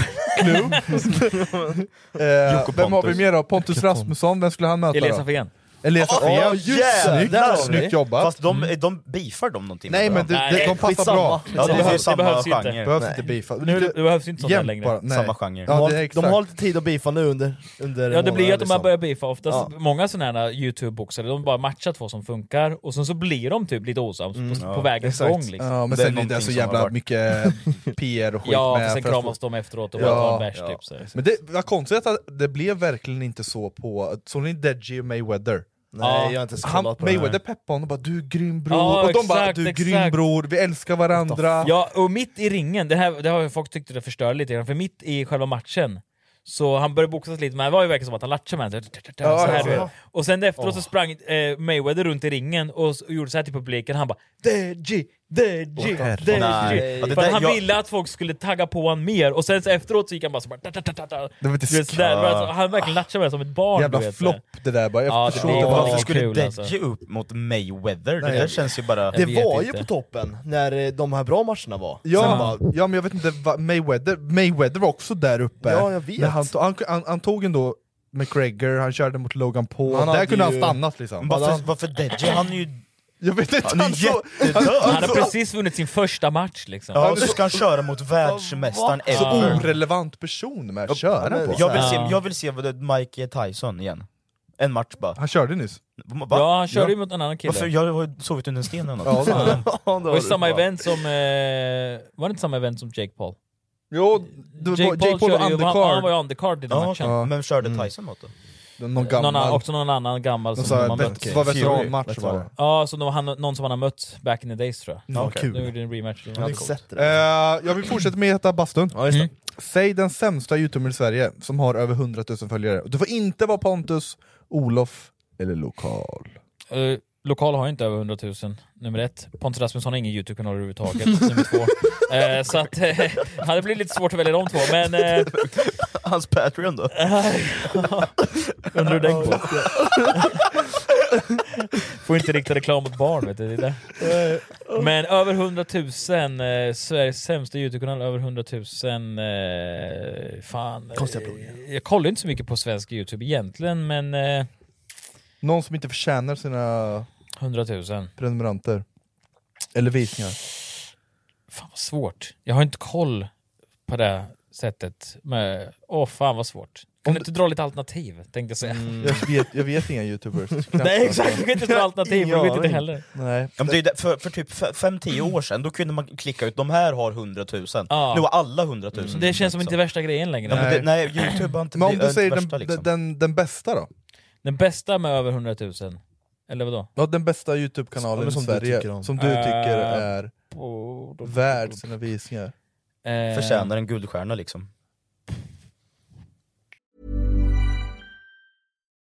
S4: eh,
S1: Jocke
S4: vem har vi
S1: Pontus.
S4: mer då? Pontus
S1: Jocke Pontus.
S4: Rasmusson, vem skulle han möta
S1: Elias
S4: då?
S1: Afén.
S4: Elias
S3: Ja,
S4: Afén,
S3: jävlar! Där har
S4: snyggt,
S3: vi.
S4: snyggt jobbat!
S3: Fast de, de beefar de någonting?
S4: Nej
S3: med
S4: men du,
S3: varandra?
S4: de passar bra.
S3: Ja, det, är samma
S4: behövs
S3: genre.
S4: Inte. Behövs inte beefa.
S2: Nu- det behövs inte sånt där
S4: Jämt
S2: längre.
S4: bara, nej.
S3: Samma genre.
S2: De
S4: Ja,
S2: har-
S4: det är
S2: de
S4: exakt.
S2: har lite tid att beefa nu under, under
S1: Ja det blir ju
S2: månaderna,
S1: att de här
S2: liksom.
S1: börjar beefa, oftast
S2: Ja.
S1: många sådana här youtube-boxare, de bara matchar två som funkar, och sen så blir de typ lite osams på, på vägens
S4: Exakt.
S1: gång liksom.
S4: Ja, men sen är det så jävla mycket PR och skit
S1: Ja,
S4: med
S1: för sen
S4: att
S1: kramas
S4: få-
S1: de efteråt och bara tar en bärs, typ, så här.
S4: Men det var konstigt att det blev verkligen inte så på... Såg ni Deji och Mayweather?
S2: Nej, jag har inte ens
S4: han,
S2: kollat på det här.
S4: Mayweather peppade honom och bara 'du är grym bror'
S1: Ja,
S4: och de bara
S1: exakt,
S4: 'du är
S1: exakt.
S4: grym bror, vi älskar varandra'
S1: Ja, och mitt i ringen, det här det har ju folk tyckt det förstör lite grann, för mitt i själva matchen så han började boxas lite, men det var ju verkligen som att han latchade med henne.
S4: Ja,
S1: så här,
S4: ja.
S1: du vet. Och sen efteråt så
S4: Åh.
S1: sprang eh, Mayweather runt i ringen och, s- och gjorde så här till publiken, han bara Deji, Deji,
S3: Åh, herregud. Nej. Ja,
S1: Deji.
S3: det
S1: För att
S3: där-
S1: han
S3: jag-
S1: ville att folk skulle tagga på honom mer, och sen så efteråt så gick han bara så bara... "Ta, ta, ta, ta, ta."
S4: Det var inte
S1: Du vet, så där.
S4: skoj.
S1: Det var alltså- Han verkligen latchade med henne som ett barn.
S4: Jävla
S1: du vet.
S4: flopp det där bara, jag
S1: Ja, det
S4: förstår
S1: är
S4: inte
S1: bara-
S3: Varför skulle
S1: kul,
S3: Deji
S1: alltså.
S3: upp mot Mayweather?
S2: Nej.
S3: Det där känns ju bara...
S2: Det var ju på toppen när eh, de här bra matcherna var. Sen
S4: Ja,
S2: bara,
S4: ja men jag vet inte, va- Mayweather, Mayweather var också där uppe.
S2: Ja, jag vet.
S4: Men Han, tog, han, han, han tog ändå McGregor, han körde mot Logan Paul,
S3: Han
S4: där
S3: hade
S4: kunde han
S3: ju-
S4: stannat liksom.
S3: Varför, varför Deji? Han är ju...
S4: Jag vet inte,
S3: han är jättedöd!
S1: Han har precis vunnit sin första match liksom.
S3: Ja, och så ska han köra mot världsmästaren
S4: Så
S3: ever.
S4: orelevant person med att köra på.
S3: Jag vill se, jag vill se vad det- Mike Tyson igen. En match bara.
S4: Han körde nyss.
S3: Va?
S1: Ja, han körde ju mot en annan kille.
S3: Varför? Jag har ju sovit under en sten eller
S1: Ja,
S3: något.
S1: det har du.
S3: Fan.
S1: Det var ju samma event som... Eh, var det inte samma event som Jake Paul?
S4: Jo, det var- Jake Paul var
S1: körde ju-
S4: undercard.
S1: Han, han var ju undercard i den
S4: Ja,
S1: matchen.
S4: ja.
S3: Men körde Tyson mot då?
S4: Någon
S1: Någon,
S4: gammal.
S1: annan- också någon annan gammal
S4: Någon
S1: som
S4: sån
S1: de
S4: här
S1: har
S4: vet-
S1: mött.
S4: var veteranmatch var det.
S1: Ja, som de, han, någon som han har mött back in the days tror jag.
S4: Ja,
S1: Okej.
S4: kul.
S1: Nu gjorde en rematch.
S4: Ja, det är coolt. Eh, jag vill fortsätta med Heta Bastun.
S1: det. Mm.
S4: Säg den sämsta youtubern i Sverige som har över 100 000 följare. Du får inte vara Pontus, Olof eller Lokal.
S1: Eh, lokal har ju inte över 100 000, nummer ett. Pontus Rasmusson har ingen YouTube-kanal överhuvudtaget, nummer två. Eh, så att, eh, ja, det blir lite svårt att välja de två, men... Eh,
S3: Hans Patreon då?
S1: Äh. Undrar hur den går. Får inte rikta reklam mot barn, vet du. Det är det. Men över 100 000, eh, Sveriges sämsta Youtube-kanal, över 100 000... Eh, fan. eh,
S2: Konstiga
S1: Jag kollar inte så mycket på svensk Youtube egentligen, men... Eh,
S4: Någon som inte förtjänar sina
S1: 100 000.
S4: prenumeranter. Eller visningar.
S1: Fan vad svårt. Jag har inte koll på det sättet. Men, åh fan vad svårt. Kan du inte dra lite alternativ, tänkte jag säga.
S3: Mm,
S4: Jag vet, jag vet inga youtubers. Knappt
S1: Mm. Nej exakt, du kan inte dra alternativ, för du vet inte
S3: aning.
S1: heller.
S4: Nej.
S3: Ja, men det är där- för, för typ 5-10 år sedan, då kunde man klicka ut de här har 100 000,
S1: Ja.
S3: nu har alla 100 000
S1: Ah. Mm. Det känns som inte värsta grejen längre.
S3: Ja, men det, nej, youtube har inte
S4: Men om
S3: blivit-
S4: du säger
S3: värsta, liksom.
S4: den,
S1: liksom.
S4: den, den bästa då?
S1: Den bästa med över 100 000? Eller vadå?
S4: Ja, den bästa youtube-kanalen i
S1: Som du tycker
S4: Sverige
S1: om.
S4: som du tycker
S1: Eh,
S4: är
S1: på- då-
S4: värd sina visningar.
S1: Eh,
S3: Förtjänar en guldstjärna liksom.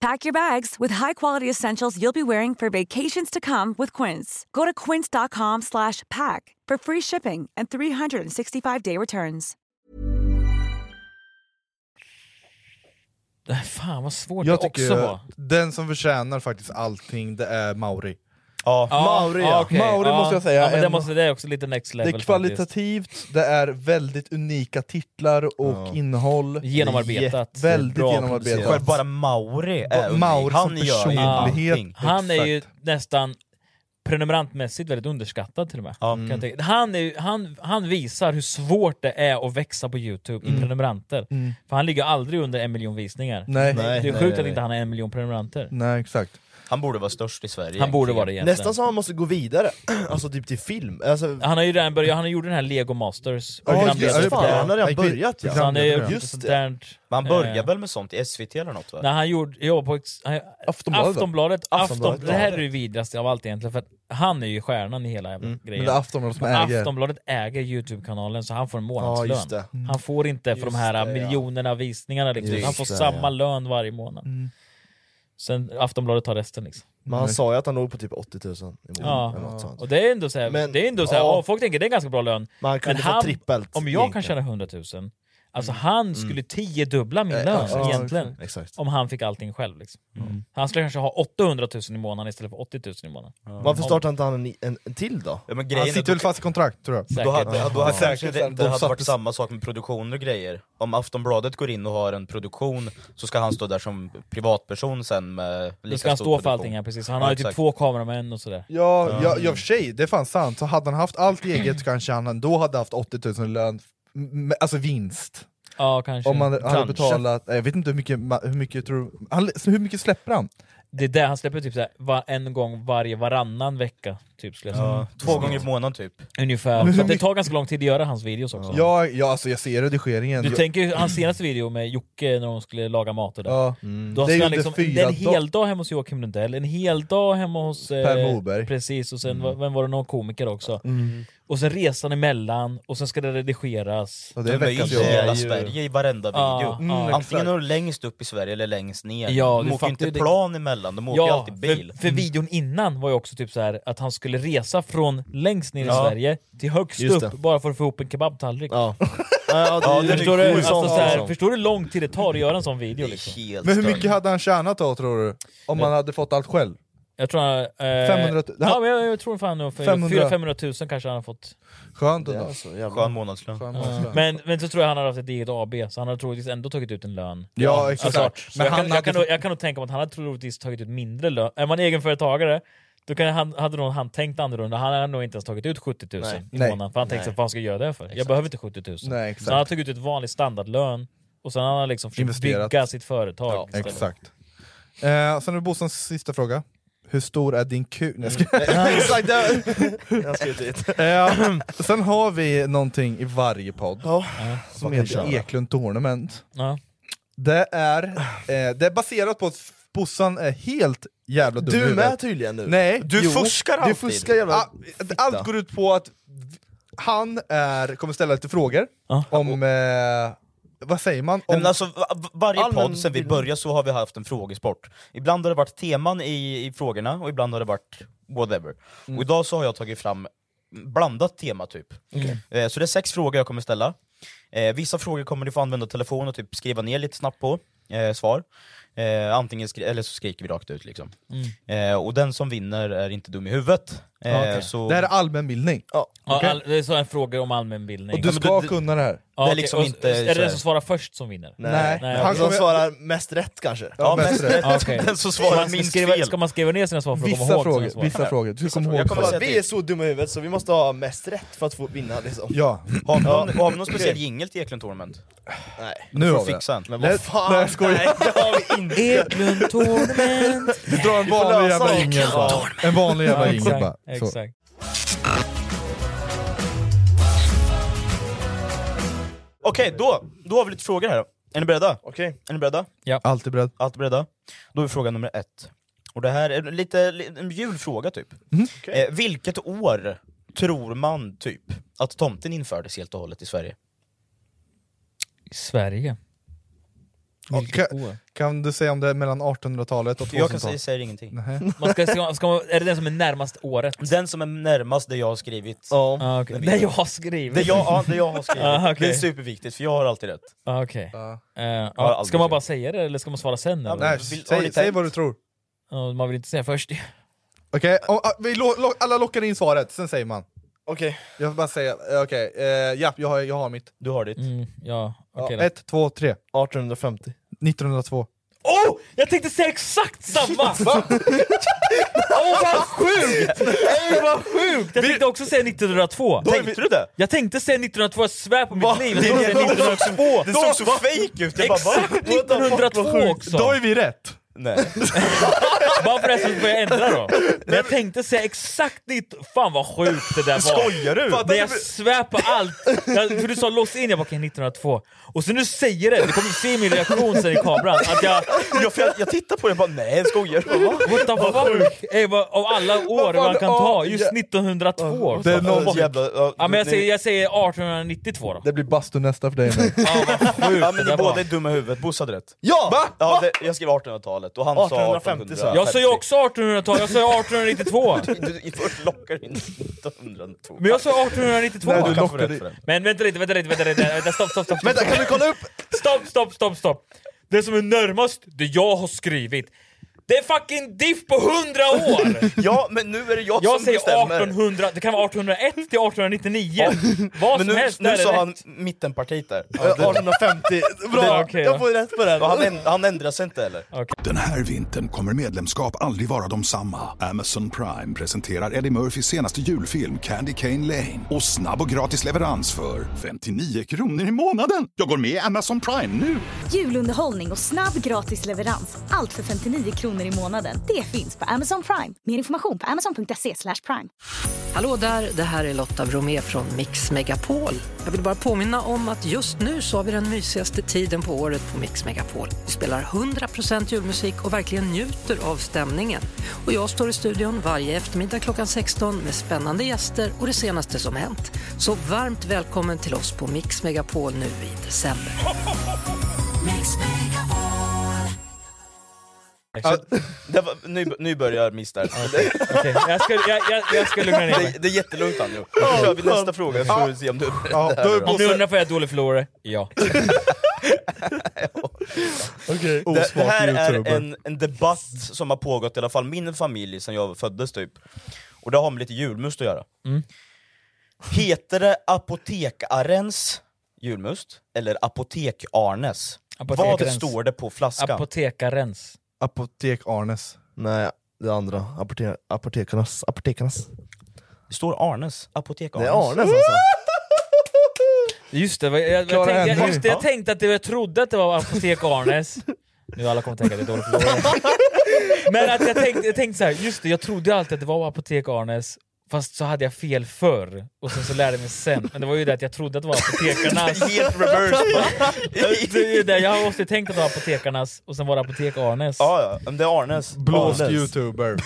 S16: Pack your bags with high-quality essentials you'll be wearing for vacations to come with Quince. Go to quince.com/pack slash pack for free shipping and 365-day returns.
S1: Det här, fan vad svårt
S4: Jag
S1: det
S4: tycker
S1: också var.
S4: den som förtjänar faktiskt allting det är Mauri.
S3: Ja,
S4: Mauri,
S1: ja, okej.
S4: Mauri
S1: Ja.
S4: måste jag säga.
S1: Ja, men det,
S4: en-
S1: måste, det är också lite next
S4: det
S1: level
S4: är kvalitativt, det är väldigt unika titlar och innehåll.
S1: Genomarbetat.
S4: Jätte- Väldigt
S1: Bra
S4: genomarbetat.
S1: producerat. Själv bara
S3: Mauri
S1: faktiskt.
S4: Mauri som personlighet.
S1: Han är ju
S4: Exakt.
S1: nästan prenumerantmässigt väldigt underskattad till och med. Kan jag
S4: Mm.
S1: tänka. han, är, ju- han, han visar hur svårt det är att växa på Youtube i
S4: Mm.
S1: prenumeranter.
S4: Mm.
S1: För han ligger aldrig under en miljon visningar.
S4: Nej.
S1: Det är
S4: Nej,
S1: sjukt
S4: nej,
S1: att
S4: nej.
S1: inte han har en miljon prenumeranter.
S4: Nej exakt.
S3: Han borde vara störst i Sverige.
S1: Han borde vara det egentligen.
S2: Nästan så han måste gå vidare, alltså typ till film. Alltså,
S1: Han har ju redan börjat, han gjorde den här Lego Masters.
S2: Ja, just det.
S1: programledare för
S2: Fan,
S1: det.
S2: han har redan börjat, ja.
S1: Så han är ju
S2: Just
S1: sånt
S2: det.
S1: där-
S3: Men han börjar
S1: eh,
S3: väl med sånt i SVT eller något va?
S1: När han gjorde, jobbade på ex- han-
S3: Aftonbladet, va?
S1: Aftonbladet,
S3: Aftonbladet,
S1: Afton- det här
S3: ja.
S1: är det vidrigaste av allt egentligen, för att han är ju stjärnan i hela jävla
S2: Mm.
S1: grejen.
S4: Men det är Aftonbladet som
S1: Men
S4: äger.
S1: Aftonbladet äger Youtube-kanalen, så han får en
S4: Ja,
S1: månadslön.
S4: just det. Mm.
S1: Han får inte för de här
S4: Just det, ja.
S1: miljonerna visningarna, liksom.
S2: Just
S1: han får
S2: det,
S1: samma
S2: ja. Mm.
S1: lön varje månad. Sen Aftonbladet tar resten liksom.
S2: men han sa ju att han låg på typ 80 000 i månaden.
S1: Ja,
S2: eller Mm. något sånt.
S1: och det är ändå såhär,
S2: Men-
S1: det är ändå såhär
S2: ja.
S1: åh, folk tänker det är en ganska bra lön.
S2: Men han kunde få trippelt
S1: om jag kan
S2: egentligen.
S1: tjäna 100 000, alltså han skulle tiodubbla min lön
S2: exakt.
S1: egentligen.
S2: Ja, exakt.
S1: Om han fick allting själv. Liksom. Han skulle kanske ha 800 000 i månaden istället för 80 000 i månaden.
S2: Varför
S1: Om-
S2: startar inte han en, en, en till då?
S3: Ja, men grejen är- då- Då hade,
S2: Ja.
S3: då hade, kanske det,
S2: Säkert.
S3: det hade varit samma sak med produktioner och grejer. Om Aftonbladet går in och har en produktion så ska han stå där som privatperson sen med lika
S1: Då ska han
S3: stor
S1: stå för
S3: produktion.
S1: allting, ja, precis. Han har ju typ
S3: exakt.
S1: två kameramän och sådär.
S4: Ja, ja, ja, i och för sig, det är fan sant. Så hade han haft allt eget så kanske han då hade haft 80 000 lön, m- m- alltså vinst.
S1: Ja, kanske.
S4: Om han hade
S1: Kanske.
S4: betalat, jag vet inte hur mycket, ma- hur mycket tror han, hur mycket släpper han?
S1: Det är där han släpper typ såhär, va, en gång varje varannan vecka. Typ, skulle jag säga.
S4: Ja, två gånger i månaden, typ. Men
S1: Ungefär.
S4: hur
S1: Så att det
S4: mycket-
S1: tar ganska lång tid att göra hans videos också.
S4: Ja, ja alltså jag ser redigeringen.
S1: Du
S4: Jag-
S1: tänker ju hans senaste video med Jocke när de skulle laga mat och det.
S4: Ja. Mm.
S1: Då
S4: Det är
S1: ska
S4: ju
S1: han
S4: under
S1: liksom, det
S4: fyra
S1: är en
S4: dag-
S1: hel dag hemma hos Joakim Lundell, en hel dag hemma hos eh,
S4: Per Morberg.
S1: Precis, och sen var- vem var det någon komiker också.
S4: Mm.
S1: Och sen resan emellan, och sen ska det redigeras. Ah,
S4: Och
S3: De är ju i hela Sverige i varenda
S1: Ja,
S3: video.
S2: Mm,
S1: ja.
S3: Antingen är de längst upp i Sverige eller längst ner.
S1: Ja,
S3: de
S1: du
S3: åker
S1: fattar
S3: ju inte
S1: ju det.
S3: plan emellan, de åker ju alltid bil.
S1: För, för videon innan var ju också typ så här att han skulle resa från längst ner i
S3: Ja.
S1: Sverige till högst
S3: Just
S1: upp
S3: det.
S1: bara för att få ihop en kebabtallrik.
S2: Ja.
S3: Ja, det är
S1: förstår,
S3: ju
S1: du,
S3: sjukt.
S1: alltså, så här,
S3: Ja.
S1: förstår du hur lång tid det tar att göra en sån video? Liksom?
S4: Men hur mycket hade han tjänat då tror du? Om han hade fått allt själv?
S1: Jag tror han... Eh,
S4: 500 000.
S1: Ja, men jag, jag tror fan nog för
S4: 500.
S1: 400 000 kanske han har fått.
S4: Skönt ändå. Det är så jävla- Skön
S3: månadslön.
S4: Skön månadslön.
S1: Ja. Men, men så tror jag han har haft ett eget AB, så han har troligtvis ändå tagit ut en lön.
S4: Ja, exakt.
S1: alltså, så
S4: Men
S1: jag,
S4: han
S1: kan, jag,
S4: hade
S1: kan nog, jag kan nog tänka mig att han har troligtvis tagit ut mindre lön. Är man egenföretagare, då kan han, hade nog han tänkt annorlunda. Han hade nog inte ens tagit ut 70 000
S4: Nej.
S1: i
S4: Nej.
S1: månaden. För han tänkte,
S4: Nej.
S1: sig, vad ska jag göra det för? Jag behöver inte 70 000.
S4: Nej, exakt.
S1: så han har tagit ut ett vanligt standardlön, och sen har han liksom försökt
S4: Investerat.
S1: bygga sitt företag. istället.
S4: Exakt. Eh, sen är det Bossans sista fråga. Hur stor är din kuk? Nej, jag ska...
S2: Nej, Exakt! det- Jag har skrivit dit.
S4: Eh, sen har vi någonting i varje podd som
S2: vad kan
S4: heter
S2: vi göra?
S4: Eklund Tournament.
S1: Ja.
S4: Det, är, eh, det är baserat på att Bossan är helt jävla dum i
S2: Du med
S4: huvudet.
S2: tydligen nu.
S4: Nej,
S2: Du
S4: jo.
S2: fuskar
S4: Du
S2: alltid.
S4: fuskar jävla
S2: Ah,
S4: Allt går ut på att han är, kommer ställa lite frågor om... Eh, vad säger man?
S3: Nej,
S4: Om,
S3: men alltså, va- va- varje
S4: Allmän
S3: podd sen vi började så har vi haft en frågesport. Ibland har det varit teman i, i frågorna och ibland har det varit whatever.
S4: Mm.
S3: Och idag så har jag tagit fram blandat tema typ.
S4: Okej.
S3: Eh, Så det är sex frågor jag kommer ställa. Eh, Vissa frågor kommer ni få använda telefon och typ skriva ner lite snabbt på eh, svar. Eh, antingen skri- eller så skriker vi rakt ut liksom.
S4: Mm.
S3: Eh, och den som vinner är inte dum i huvudet. Eh,
S4: Ja, okej.
S3: så...
S4: Det här är allmänbildning.
S1: Ja,
S4: Okej?
S1: all, det är så en fråga om allmänbildning.
S4: Och du
S1: Ja, men
S4: ska kunna det här.
S1: Ja,
S3: Det är
S1: okej.
S3: liksom
S1: Och-
S3: inte
S1: Är
S3: så
S1: det
S3: här-
S1: den som svarar först som vinner?
S2: Nej,
S1: okej.
S2: han som Eh, svarar mest rätt kanske.
S1: Ja, mest rätt. Ja, okej.
S3: Den som svarar
S1: Man ska
S3: minst
S1: skriva,
S3: fel.
S1: Ska man skriva ner sina svar för att komma
S4: Vissa
S1: ihåg
S4: frågor,
S1: sina svar?
S4: vissa frågor. Du ska komma
S2: Jag
S4: ihåg
S2: kommer
S4: svaret.
S2: säga, vi är så dumma i huvudet så vi måste ha mest rätt för att få vinna liksom.
S4: Ja.
S3: Har vi någon, har vi någon
S2: Okej.
S3: speciell jingel till Eklund Tournament?
S2: Nej.
S4: Nu
S3: får
S4: har vi
S3: fixa en.
S4: Men vad Nej, fan? nej, jag skojar.
S3: Nej, det har vi inte.
S4: Eklund Tournament. Vi drar en
S3: Vi får lösa
S4: vanlig jävla
S3: det.
S4: jingel
S3: Eklund
S4: bara.
S3: Tournament.
S4: En vanlig
S3: Ja,
S4: jävla
S3: exakt,
S4: jingel bara. Så.
S1: exakt.
S3: Okej, då, då har vi lite frågor här då. Är ni beredda?
S2: Okej.
S3: Är ni beredda?
S1: Ja.
S4: Alltid beredd.
S3: Alltid beredda. Då är fråga nummer ett. Och det här är lite li- en julfråga typ. Eh, vilket år tror man typ att tomten infördes helt och hållet i Sverige?
S1: I Sverige?
S4: Kan, kan du säga om det är mellan 1800-talet och 2000-talet?
S3: Jag kan säga, säger ingenting.
S4: Nej.
S1: Man ska, ska, ska man, är det den som är närmast året?
S3: Den som är närmast det jag har skrivit.
S2: Ja.
S1: Ah, okej.
S3: Den
S1: Det jag
S3: vinner.
S1: har skrivit?
S3: Det jag, ja, det jag har skrivit.
S1: Ah, okej.
S3: Det är superviktigt, för jag har alltid rätt.
S1: Ah, okej. Eh, ja,
S3: Har aldrig
S1: ska man bara säga det eller ska man svara sen? eller?
S4: Nej, säg, säg vad du tror.
S1: Ja, man vill inte säga först.
S4: Okej, om- ah, vi lo, lo, alla lockar in svaret, sen säger man.
S2: Okej.
S4: Jag får bara säga, eh, okej, eh, ja, jag har, jag har mitt.
S3: Du har ditt.
S1: Mm. ja, okej
S4: ja,
S1: då.
S4: ett, två, tre.
S2: 1850.
S4: 1902.
S1: Oh! Jag tänkte säga exakt samma! Va? Åh vad sjukt! Ey, vad sjukt! Jag tänkte också säga 1902.
S3: Tänkte du det?
S1: Jag tänkte säga 1902, jag svär på
S3: Va?
S1: mitt liv.
S3: Det-
S1: Jag tänkte säga
S3: det- det-
S1: 1902.
S3: det såg så fake ut, jag bara, va?
S1: Exakt 1902 också!
S4: Då är vi rätt!
S3: Nej.
S1: Bara förresten får jag ändra då. Men jag tänkte säga exakt ditt... Fan vad sjukt det där var.
S3: Skojar du?
S1: Men jag svär på allt. Jag, för du sa lås in, jag bara okej 1902. Och så nu säger det, du kommer se min reaktion sen i kameran. Att jag...
S3: Jag, jag, jag tittar på det och bara, nej skojar du? Va?
S1: What the fuck? Ey, vad- Av alla år man kan ta, just 1902.
S4: Det är någon-
S3: Jävla, ja,
S1: Ja, men jag,
S3: ni-
S1: säger, jag säger 1892 då.
S4: Det blir bastu nästa för dig och mig.
S3: Ja, men
S1: Det
S3: ni
S1: där var-
S3: båda är dumma i huvudet, Bosse hade rätt.
S2: Ja! Va?
S3: Ja, det, jag skrev 1800-talet och han
S2: 1850
S3: sa 1800.
S1: Jag sa ju också 1800-tal, jag sa ju 1892.
S3: Du du- först lockar in 1902.
S1: Men jag sa 1892.
S3: Nej, du
S1: Kan få
S3: lockade
S1: rätt
S3: i-
S1: för det. Men vänta lite, vänta lite, vänta lite. Vänta, stopp, stopp, stopp. stopp.
S2: Vänta, kan du kolla upp?
S1: Stopp, stopp, stopp, stopp. Det som är närmast, det jag har skrivit. Det är fucking diff på 100 år!
S3: Ja, men nu är det jag,
S1: Jag
S3: som
S1: säger
S3: bestämmer.
S1: 1800, det kan vara 1801 till 1899. Vad
S3: men
S1: som
S3: nu,
S1: helst
S3: nu
S1: där är
S3: sa
S1: rätt.
S3: han mittenpartiet där.
S2: Eh, 1850. Bra,
S1: okej då.
S2: jag får rätt på den.
S3: Och han, änd- han ändrar sig inte heller.
S10: Den här vintern kommer medlemskap aldrig vara de samma. Amazon Prime presenterar Eddie Murphys senaste julfilm Candy Cane Lane. Och snabb och gratis leverans för 59 kronor i månaden. Jag går med i Amazon Prime nu!
S11: Julunderhållning och snabb gratis leverans. Allt för 59 kronor i månaden. Det finns på Amazon Prime. Mer information på amazon.se slash prime.
S5: Hallå där, det här är Lotta Bromé från Mix Megapol. Jag vill bara påminna om att just nu så har vi den mysigaste tiden på året på Mix Megapol. Vi spelar 100% julmusik och verkligen njuter av stämningen. Och jag står i studion varje eftermiddag klockan 16 med spännande gäster och det senaste som hänt. Så varmt välkommen till oss på Mix Megapol nu i december.
S3: Ja, det var, nu, nu börjar miss där.
S1: Okej, jag, ska, jag, jag, jag ska lugna ner mig.
S3: Det, det är jättelugnt Anjo. Nu kör vi nästa fråga så får vi se om du...
S4: Ja, då är
S1: Om ni
S4: Bosse-
S1: undrar får jag är dålig förlorare? Ja.
S4: Okej.
S3: Det, det här är
S4: YouTuber.
S3: en, en debatt som har pågått i alla fall min familj sedan jag föddes typ. Och det har med lite julmust att göra.
S1: Mm.
S3: Heter det apotekarens julmust eller apotek-Arnes? Vad
S1: Apotekarens.
S3: står det på flaskan?
S1: Apotekarens.
S4: Apotek Arnes.
S2: Nej, det andra. Apote- apotekarnas. Apotekarnas.
S3: det står Arnes. Apotek-Arnes.
S2: Det är Arnes alltså.
S1: Just det, vad- jag, jag,
S3: Klara
S1: tänkte,
S3: henne.
S1: jag, just det, jag tänkte att det, jag trodde att det var Apotek Arnes. Nu alla kommer tänka att det är dålig förlorare. Men att jag tänkte, jag tänkte så här, just det, jag trodde alltid att det var Apotek Arnes. Fast så hade jag fel förr, och sen så lärde jag mig sen. Men det var ju det att jag trodde att det var apotekarnas.
S3: Helt reverse bara.
S1: Det är ju det, jag har ofta tänkt att det var apotekarnas, och sen var det Apotek Arnes.
S3: Ja, ja, men det är Arnes.
S4: Blåst
S3: Arnes.
S4: youtuber.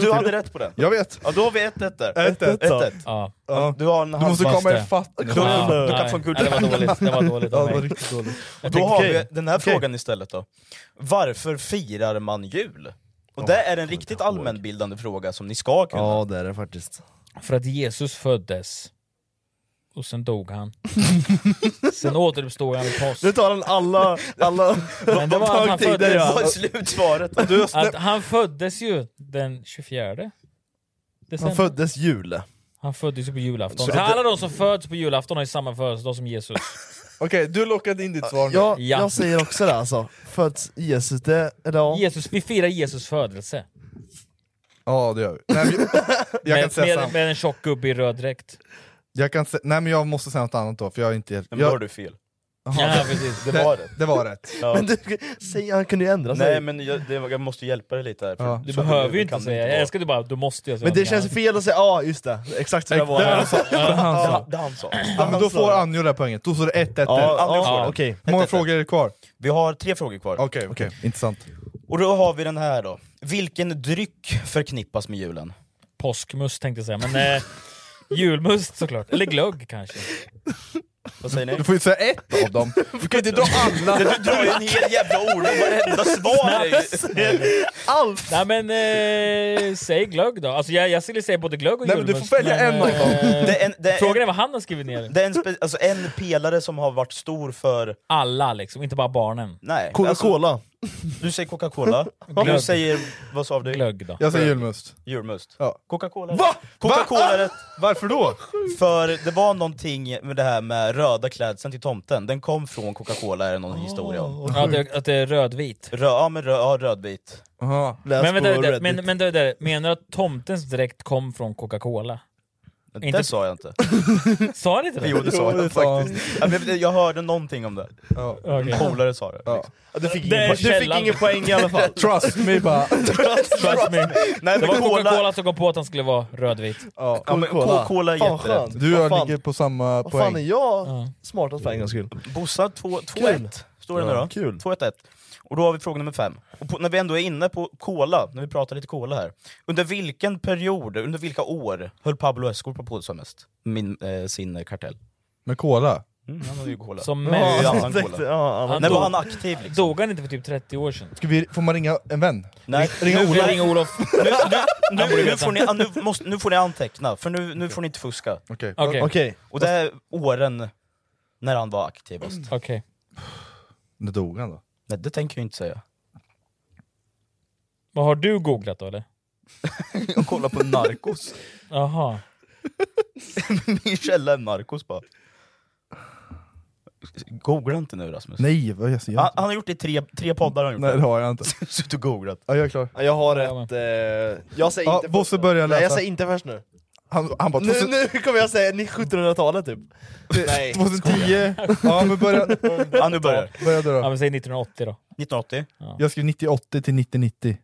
S3: Du hade rätt på den.
S4: Jag vet.
S3: Ja, då har vi 1-1 ett, ett där.
S4: Ett, ett.
S3: Ett, ett.
S1: Ja.
S4: Ja.
S3: Du har en
S4: Du måste
S3: halv-
S4: komma ifatt nu.
S3: Du, du
S1: nej.
S3: kan få en
S1: Nej, det var dåligt. Det var dåligt av
S4: Ja, det var
S1: mig.
S4: riktigt dåligt.
S1: Jag
S3: Då
S1: tänkte,
S3: har vi
S1: okej.
S3: den här
S1: Okej.
S3: frågan istället då. Varför firar man jul? Och det är en riktigt allmänbildande fråga som ni ska kunna.
S2: Ja det är det faktiskt.
S1: För att Jesus föddes. Och sen dog han. sen återuppstod han vid påsk.
S2: Nu tar han alla... alla
S1: Men det var att han
S2: högtider,
S1: föddes,
S2: ja. Du,
S1: att han föddes ju den 24 december.
S2: Han föddes jul.
S1: Han föddes ju på julafton.
S2: Så
S1: Så
S2: det-
S1: alla de som föds på julafton har ju samma födelsedag som Jesus.
S4: Okej, du lockade in ditt svar nu.
S2: Ja,
S1: Ja.
S2: Jag säger också det alltså. Föds Jesus det... Eller ja.
S1: Jesus, vi firar Jesus födelse.
S4: Ja det gör vi. Nej, men jag, jag kan
S1: Med,
S4: säga
S1: med,
S4: samma.
S1: med en tjock gubbe i röd dräkt.
S4: Jag kan sä- nej men jag måste säga något annat då, för jag är inte...
S3: Men
S4: jag,
S3: då har du fel.
S4: Jaha.
S1: Ja, precis.
S3: Det var rätt.
S4: Det var rätt.
S2: Men du, säg, han kunde ju ändra sig.
S3: Nej men jag, det, jag måste hjälpa dig lite här. för-
S4: Ja.
S1: Du
S3: så
S1: behöver
S3: det
S1: ju inte
S3: kan
S1: säga,
S3: vara.
S1: jag älskar du bara, du måste jag säga
S2: Men det
S1: något
S2: känns
S1: annat.
S2: fel att säga ja, just det. Exakt så det var.
S4: Det han sa. Det han sa.
S3: Det han sa.
S4: Ja, men då får Anjo det här poänget, då står det 1-1 där. Hur många frågor är det kvar? Mm.
S3: Vi har tre frågor kvar.
S4: Okej, okej. Intressant.
S3: Och då har vi den här då. Vilken dryck förknippas med julen?
S1: Påskmust tänkte jag säga, men eh, julmust såklart. Eller glögg kanske.
S3: Vad säger ni?
S4: Du får ju säga ett av dem. Du kan inte dra alla!
S3: Du drar ju en hel jävla orm och varenda svar!
S1: Allt! Nej men eh, säg glögg då. Alltså, jag, jag skulle säga både glögg och
S3: Nej, men
S1: julmust.
S3: du får välja en av dem.
S1: eh,
S3: Det är en- det är
S1: Frågan
S3: en-
S1: är vad han har skrivit ner.
S3: Det är en, spe- alltså en pelare som har varit stor för...
S1: Alla liksom, inte bara barnen.
S3: Nej.
S2: Coca-Cola.
S3: Alltså, du säger Coca-Cola, du
S1: Glögg.
S3: säger... Vad sa du?
S1: Glögg då.
S4: Jag säger julmust.
S3: Julmust.
S4: Ja.
S3: Coca-Cola.
S4: Va?
S3: Coca-Cola är rätt.
S4: Varför då?
S3: För det var någonting med det här med röda klädseln till tomten, den kom från Coca-Cola är det någon historia om.
S1: Ja, det, att det är rödvit.
S3: Rö- ja men rö- ja, rödvit.
S4: Aha.
S1: Men, vänta, vänta, men, men det där, menar du att tomtens dräkt kom från Coca-Cola?
S3: Det sa jag inte.
S1: Sa han inte det?
S3: Jo det sa jag faktiskt. Ja, men jag hörde någonting om det. En polare sa det. Liksom.
S2: Du fick
S3: Det är
S2: ingen, po- du fick
S3: källan.
S2: ingen poäng i alla fall.
S4: Trust me bara.
S1: Trust me.
S3: Nej,
S1: det
S3: men
S1: var
S3: Cola-
S1: Coca-Cola som kom på att han skulle vara rödvit.
S3: Ja, men Coca-Cola är
S2: Fan,
S3: jätterätt.
S2: skönt.
S4: Du och
S2: Vad
S4: jag
S2: fan-
S4: ligger på samma
S2: Vad
S4: poäng.
S2: fan är jag smartast för en gångs skull?
S3: Bossa två- 2-1 står det nu då. 2-1-1. Och då har vi fråga nummer fem. Och på, när vi ändå är inne på cola, när vi pratar lite cola här. Under vilken period, under vilka år höll Pablo Escobar på som mest? Min, eh, sin eh, kartell.
S4: Med cola?
S3: Mm, han hade ju cola.
S1: Som
S3: Han hade ju
S1: mest.
S3: annan cola. När var han aktiv? Liksom?
S1: Dog han inte för typ 30 år sedan?
S4: Ska vi, får man ringa en vän?
S3: Nej.
S4: Ringa
S1: Nu-
S4: Ola.
S1: Ring Olof.
S3: Nu,
S1: Han
S3: nu,
S1: borde
S3: nu,
S1: veta.
S3: får ni, ah, nu, måste, nu får ni anteckna, för nu, nu får ni inte fuska.
S4: Okej.
S1: Okej. Okej.
S3: Och det är åren när han var aktivast.
S1: Okej.
S4: När dog han då?
S3: Mm. Nej, det tänker jag inte säga.
S1: Vad har du googlat då eller?
S3: Jag kollar på Narcos.
S1: Jaha.
S3: Min källa är Narcos bara. Googla inte nu Rasmus.
S4: Nej, vad jag säger
S3: Han, han har gjort det i tre, tre poddar. har Han gjort
S4: Nej det har jag inte.
S3: Ah. Suttit och googlat.
S4: Ja, jag är klar.
S2: Ja, Jag har ett... Eh, jag säger
S4: Ja,
S2: inte
S4: Bosse
S2: först.
S4: börjar
S2: Nej, jag
S4: läsa.
S2: säger inte först nu.
S4: Han, han bara...
S2: Nu,
S4: 2000
S2: nu kommer jag säga ni- 1700-talet typ. Nej.
S4: 2010, ja men börja...
S3: Ja, nu börjar
S4: Börja du
S1: Ja,
S4: då.
S1: men säg 1980 då.
S3: 1980?
S4: Jag skrev 9080 till 9090.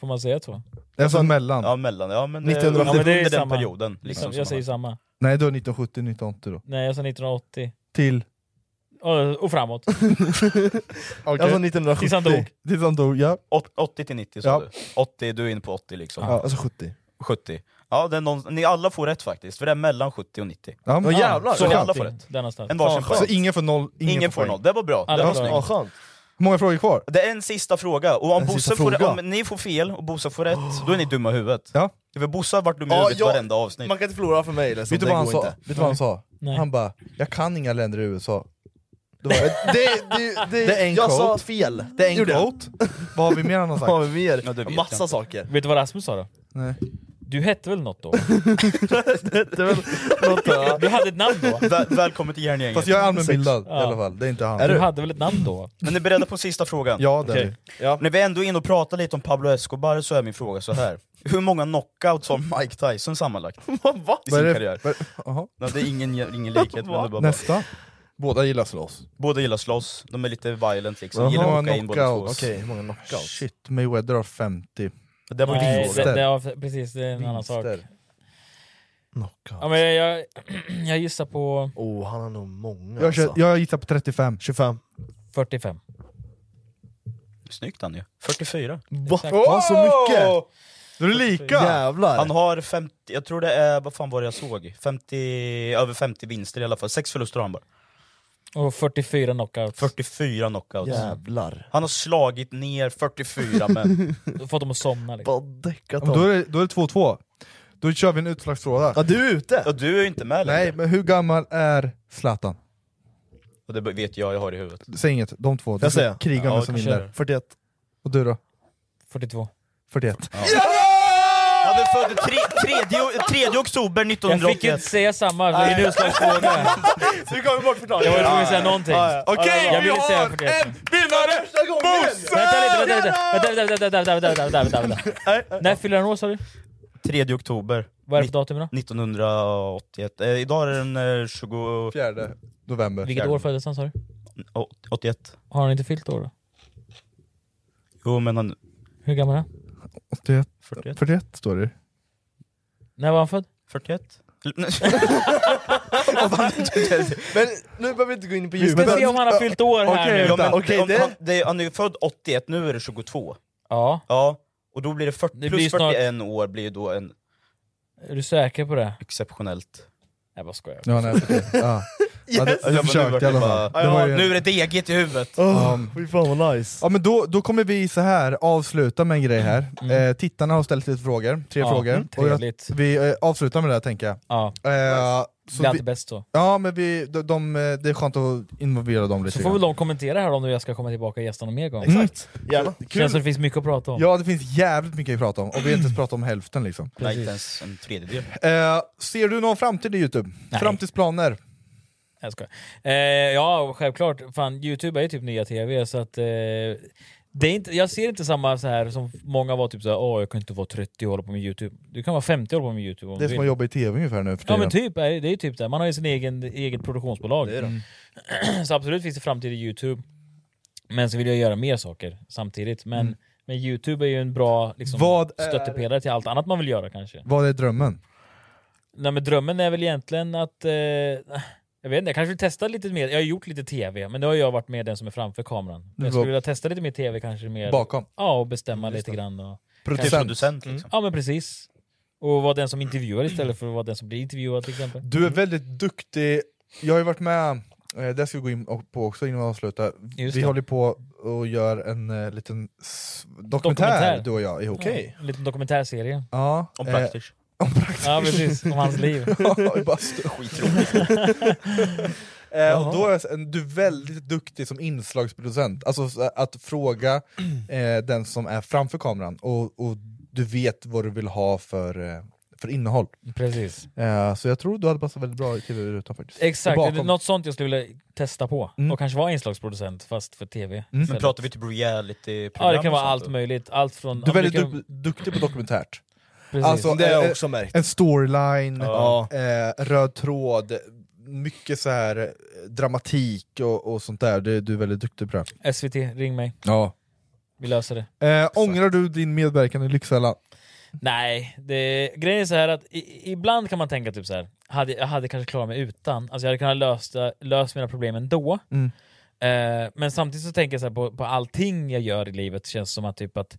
S1: Får man säga så?
S4: Alltså mellan.
S3: Ja, mellan. Ja, men, eh,
S4: 1970.
S1: Ja, men det är
S3: under den
S1: samma.
S3: perioden. Liksom,
S1: jag
S3: som
S1: säger
S3: han-
S1: samma.
S4: Nej du har 1970, 1980 då.
S1: Nej, jag sa 1980.
S4: Till?
S1: Och, och framåt.
S4: Okay.
S2: Alltså 1970.
S1: Tills han dog.
S4: Tills han dog, ja.
S3: Åt- 80 till 90 sa
S4: Ja.
S3: du. 80, du är inne på 80 liksom.
S4: ja. Alltså 70.
S3: 70. Ja, det är någon, ni alla får rätt faktiskt, för det är mellan 70 och 90.
S4: Ja, men-
S3: Ja,
S4: jävlar.
S3: Så ni alla
S4: Skönt.
S3: får rätt.
S1: Denna stund.
S3: En varsin
S4: Så
S3: poäng.
S4: ingen får noll, ingen,
S3: Ingen, får
S4: poäng.
S3: noll. Det var bra.
S1: Alla
S3: det, var
S1: får
S3: snyggt.
S1: noll.
S2: skönt.
S4: Hur många frågor kvar?
S3: det är en sista fråga, och om,
S2: En
S3: Bosse
S2: sista
S3: får,
S2: fråga.
S3: om ni får fel och Bosse får rätt, då är ni dumma i huvudet.
S4: Ja.
S3: För Bosse har varit dum i
S2: Ja,
S3: huvudet
S2: jag-
S3: varenda avsnitt.
S2: Man kan inte förlora för mig liksom.
S4: Vet du
S2: Det
S4: vad han
S2: går
S4: sa?
S2: inte.
S4: Vet du vad han sa?
S1: Nej.
S4: Han bara, jag kan inga länder i USA. Då var det,
S2: Det, det, det,
S4: Det är en
S2: jag sa
S4: quote.
S2: fel.
S4: det är en
S2: Gjorde jag?
S4: quote. Vad har vi mer han har
S2: Vad har
S4: sagt?
S2: vi mer?
S3: Ja, det vet jag
S2: Massa
S3: inte.
S2: saker.
S1: Vet du vad Rasmus sa då?
S4: Nej.
S1: Du hette väl något då?
S2: Det är väl något, ja.
S1: Du hade ett namn då?
S3: Väl, välkommen till järngänget.
S4: Fast jag är allmänbildad
S1: Ja.
S4: i alla fall, det är inte han.
S2: Är
S1: Du
S2: du?
S1: hade väl ett namn då?
S3: Men ni är beredda på sista frågan?
S4: Ja, det är
S1: Okej.
S4: vi.
S3: När vi ändå är inne och pratar lite om Pablo Escobar så är min fråga så här. Hur många knockouts har Mike Tyson sammanlagt?
S2: Va?
S3: I
S4: Vad
S3: sin
S4: är det-
S3: karriär?
S4: vad är det- jaha.
S3: Nej, det är ingen, ingen likhet. men det är bara-
S4: Nästa. Båda gillar slåss.
S3: Båda gillar slåss, de är lite violent liksom,
S4: Jaha,
S3: gillar att åka in båda två.
S4: knockouts.
S2: Okej, hur många knockouts?
S4: Shit, Mayweather har 50.
S3: Det var
S1: Nej,
S3: din
S1: det,
S3: fråga.
S1: det, ja, precis, det är en annan sak.
S4: Vinster.
S1: Ja, men jag, jag, jag gissar på
S2: Oh, han har nog många
S4: Jag, kör,
S2: alltså.
S4: jag gissar på 35.
S2: 25.
S1: 45.
S3: Snyggt han ju. 44.
S2: Va? Fan, så mycket!
S4: Då är det lika!
S2: Jävlar!
S3: Han har 50, jag tror det är, vad fan var det jag såg? 50, över 50 vinster i alla fall, sex förluster har han bara.
S1: Och 44 knockouts.
S3: 44 knockouts.
S2: Jävlar.
S3: Han har slagit ner 44 män.
S1: Fått dem att somna liksom.
S2: Bara däckat
S4: Ja, men Då är
S2: honom.
S4: det då är det 2-2. Då kör vi en utslagsfråga.
S2: Ja, du är ute!
S3: Ja, du är ju inte med
S4: Nej,
S3: längre.
S4: men hur gammal är Zlatan?
S3: Och det vet jag, jag har i huvudet.
S4: Säg inget, de två. Du
S3: Jag
S4: ska
S3: säger.
S4: kriga om
S3: Ja,
S4: vem som
S3: jag
S4: vinner.
S3: kör.
S4: 41. Och du då?
S1: 42.
S4: 41.
S3: Han är född tre, tredje, tredje oktober
S1: Jag
S3: 1981.
S1: fick inte säga samma, det är en
S3: Nej.
S1: utslagsfråga.
S3: Du kommer bort
S1: Jag var tvungen att säga någonting. jag ville säga
S3: för
S1: 41.
S3: vinnare! Bosse!
S1: Vänta lite, vänta lite. Vänta, vänta, vänta, vänta, vänta, vänta, vänta, vänta. När fyller han år sa du?
S3: 3 oktober.
S1: Vad är det för datum idag?
S3: 1981. Eh, idag är den eh, 20...
S4: Fjärde november.
S1: Vilket år föddes han sa du?
S3: 81.
S1: Har han inte fyllt år då?
S3: Jo men han...
S1: Hur gammal är han?
S4: 41.
S3: 41.
S4: 41 står det.
S1: När var han född?
S3: 41.
S2: Men nu behöver vi inte gå in på
S3: Vi
S2: djupet.
S3: ska se om han har fyllt år här nu.
S2: Okej,
S3: Ja, men,
S2: vänta. Okej,
S3: om han,
S2: det...
S3: det, han är ju född 81, nu är det 22.
S1: Ja.
S3: Ja, och då blir det 40,
S1: blir
S3: plus
S1: snart-
S3: 41 år blir ju då en
S1: Är du säker på det?
S3: exceptionellt...
S1: Jag bara skojar.
S4: Ja, nej, okej. ja. ja,
S3: Yes!
S4: du, du försökte i alla fall. Det var
S3: Ja,
S4: ju-
S3: nu är det degigt i huvudet.
S4: Åh,
S2: Fy fan vad nice.
S4: Ja men då, då kommer vi så här avsluta med en grej här.
S3: Mm.
S4: Eh, tittarna har ställt lite frågor, tre
S1: Ja,
S4: frågor. Och jag,
S1: trevligt.
S4: vi eh, avslutar med det här tänker jag.
S1: Ja.
S4: Eh,
S1: Det är
S4: vi,
S1: alltid bäst så.
S4: ja men vi, de, de, eh, det är skönt att involvera dem lite
S1: Så får väl
S4: grann.
S1: de kommentera här om jag ska komma tillbaka och gästa någon mer gång.
S4: Mm. Gärna.
S1: Känns som det finns mycket att prata om.
S4: Ja det finns jävligt mycket att prata om, och vi har inte ens pratat om hälften liksom.
S3: Nej, inte ens en tredjedel.
S4: Eh, ser du någon framtid i Youtube?
S1: Nej.
S4: Framtidsplaner?
S1: Jag skojar. Eh, ja, självklart. Fan, Youtube är ju typ nya TV, så att... Eh, det är inte, jag ser inte samma så här som många var typ såhär, åh jag kan inte vara 30 och hålla på med Youtube. Du kan vara 50 och hålla på med Youtube om
S4: Det är
S1: du
S4: som
S1: vill.
S4: att jobba i TV ungefär nu för
S1: Ja men
S4: tiden.
S1: typ, är- det är ju typ det. Man har ju sin egen, eget produktionsbolag. Mm. Så absolut finns det framtid i Youtube. Men så vill jag göra mer saker samtidigt. Men,
S4: Mm.
S1: men Youtube är ju en bra liksom,
S4: Vad är-
S1: stöttepelare till allt annat man vill göra kanske.
S4: Vad är drömmen?
S1: Nej men drömmen är väl egentligen att... Eh, jag vet inte, jag kanske vill testa lite mer. Jag har gjort lite TV, men då har jag varit med den som är framför kameran. Men
S4: Du
S1: jag skulle
S4: var-
S1: vilja testa lite mer TV kanske. Mer,
S4: Bakom?
S1: Ja, och bestämma lite grann. Och,
S4: Producent.
S1: kanske-
S4: Producent,
S3: liksom.
S1: Mm. Ja men precis. Och vara den som intervjuar istället för att vara den som blir intervjuad till exempel.
S4: Du är väldigt duktig, jag har ju varit med, eh, det ska vi gå in på också innan vi avslutar,
S1: Just
S4: vi
S1: det.
S4: håller på och gör en eh, liten s- dokumentär, du och jag ihop.
S1: Ja, en liten dokumentärserie.
S4: Ja,
S1: Om
S4: eh,
S1: Praktisch.
S4: om Praktisch.
S1: Ja, precis. Om hans liv.
S4: ja, det är bara stö-
S1: Skittråkigt.
S4: eh, och då är jag, s- du är väldigt duktig som inslagsproducent, alltså s- att fråga eh, den som är framför kameran och, och du vet vad du vill ha för, eh, för innehåll.
S1: Precis.
S4: Eh, så jag tror du hade passat väldigt bra i tv-rutan faktiskt.
S1: Exakt,
S4: Och
S1: det är
S4: bakom.
S1: något sånt jag skulle vilja testa på.
S4: Mm.
S1: Och kanske vara inslagsproducent fast för TV.
S3: Men
S1: istället.
S3: pratar vi typ reality-program?
S1: Ja det kan
S3: och
S1: vara
S3: sånt
S1: allt
S3: då?
S1: möjligt. Allt från...
S4: Du är
S1: ja, men
S4: väldigt
S1: kan-
S4: du- alltså- duktig på dokumentärt.
S1: Precis. Det har
S4: en-
S1: jag
S3: Eh,
S4: en-
S1: också märkt.
S4: En storyline,
S1: Ja.
S4: eh, röd tråd, mycket så här eh, dramatik och, och sånt där. Du, du är väldigt duktig på det.
S1: SVT, ring mig.
S4: Ja.
S1: Vi löser det.
S4: Eh, ångrar du din medverkan i Lyxfällan?
S1: Nej, det, grejen är så här att i, ibland kan man tänka typ så här. Hade, jag hade kanske klarat mig utan. Alltså jag hade kunnat lösa, lösa mina problem ändå.
S4: Mm.
S1: Eh, men samtidigt så tänker jag så här på, på allting jag gör i livet känns som att typ att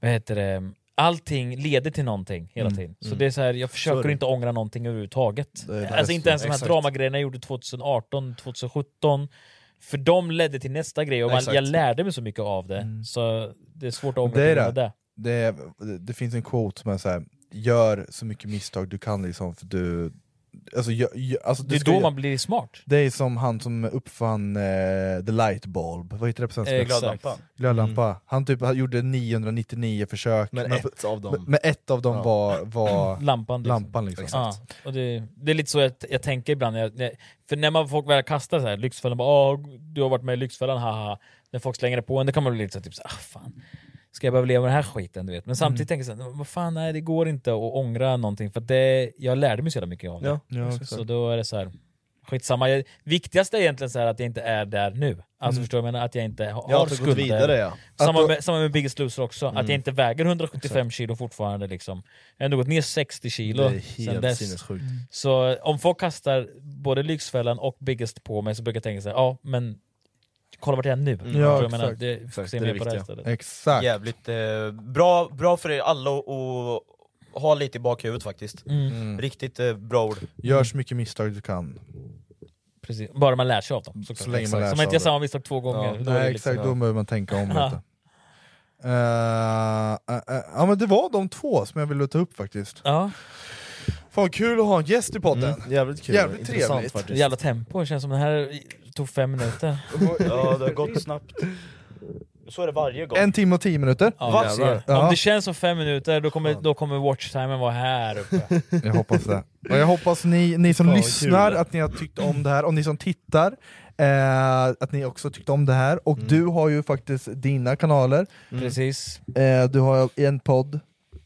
S1: vad heter det, allting leder till någonting hela
S3: Mm.
S1: tiden. Så
S3: Mm.
S1: det är så här, jag försöker
S3: Så är det.
S1: inte ångra någonting överhuvudtaget.
S3: Det är
S1: alltså
S3: det.
S1: inte ens de här
S3: Exakt.
S1: dramagrejerna jag gjorde 2018, 2017. För de ledde till nästa grej och man,
S4: Exakt.
S1: jag lärde mig så mycket av det. Så det är svårt att ångra
S4: Det är
S1: på grund av
S4: det. Det, är, det finns en quote som är så här. gör så mycket misstag du kan liksom, för du... Alltså, gör, gör, alltså,
S1: Det
S4: du
S1: är
S4: ska
S1: då
S4: gö-
S1: man blir smart.
S4: Det är som han som uppfann eh, the light bulb, vad heter det på svenska?
S1: Eh, glödlampan.
S4: liksom. Glödlampa. Han typ han gjorde 999 försök,
S1: Men ett av dem.
S4: men, men ett av dem
S1: Ja.
S4: var, var
S1: lampan. Liksom.
S4: lampan liksom.
S1: Ja, och det, det är lite så jag, jag tänker ibland. när Jag, när- för när man folk väl kastar så här, Lyxfällan, bara, "Åh, du har varit med i Lyxfällan, haha. När folk slänger det på en, då kan man bli lite så här, typ, så, ah, fan. Ska jag behöva leva med den här skiten? Du vet? Men samtidigt
S4: Mm.
S1: tänker jag så här, vad fan, nej det går inte att ångra någonting. För att det, jag lärde mig så jävla mycket av det.
S4: Ja, ja, exakt.
S1: så då är det så här, skitsamma. Jag, viktigast är egentligen så här att jag inte är där nu. Alltså
S4: Mm.
S1: förstår du vad jag menar? Att jag inte har,
S4: Ja,
S1: har
S4: att du gått
S1: skulder.
S4: vidare, ja. Att
S1: Samma
S4: då-
S1: med, samma med Biggest Loser också,
S4: Mm.
S1: att jag inte väger 175
S4: Exakt.
S1: kilo fortfarande. Liksom. Jag har ändå gått ner 60 kilo
S2: Det är helt
S1: sen dess.
S2: sinnessjukt. Mm.
S1: Så om folk kastar både Lyxfällan och Biggest på mig så brukar jag tänka så här, ja men kolla vart jag är
S4: Mm.
S1: nu. Förstår du vad jag menar? Det, fokusera mer på det här istället.
S4: Exakt.
S3: Jävligt eh, bra, bra för er alla att att ha lite i bakhuvudet faktiskt.
S1: Mm.
S4: Mm.
S3: Riktigt eh, bra ord.
S4: Gör så mycket misstag du kan.
S1: Precis. Bara man lär sig av dem. såklart.
S4: Så länge
S1: Exakt.
S4: man lär
S1: så
S4: sig
S1: man inte gör
S4: av
S1: samma
S4: det.
S1: misstag två gånger.
S4: Ja.
S1: då är det
S4: Nej,
S1: liksom-
S4: exakt, då behöver man tänka om
S1: Ja.
S4: lite. Eh, eh, eh, ja men det var de två som jag ville ta upp faktiskt.
S1: Ja.
S2: Fan kul att ha en gäst i podden.
S4: Mm.
S1: jävligt
S2: kul. Mm. Jävligt Intressant trevligt. faktiskt.
S1: Jävla tempo, det känns som det här tog fem minuter.
S3: Ja, det har gått snabbt. Så är det varje gång.
S4: En timme och tio minuter.
S1: Ja,
S4: Jävlar.
S1: ja. Om
S4: Ja.
S1: det känns som fem minuter, då kommer, då kommer watchtimen vara här uppe.
S4: Jag hoppas det. Och jag hoppas ni, ni som
S1: Fan, vad
S4: lyssnar
S1: kul.
S4: att ni har tyckt om det här, och ni som tittar eh, att ni också tyckte om det här. Och du har ju faktiskt dina kanaler.
S1: Precis.
S4: Eh, du har en podd.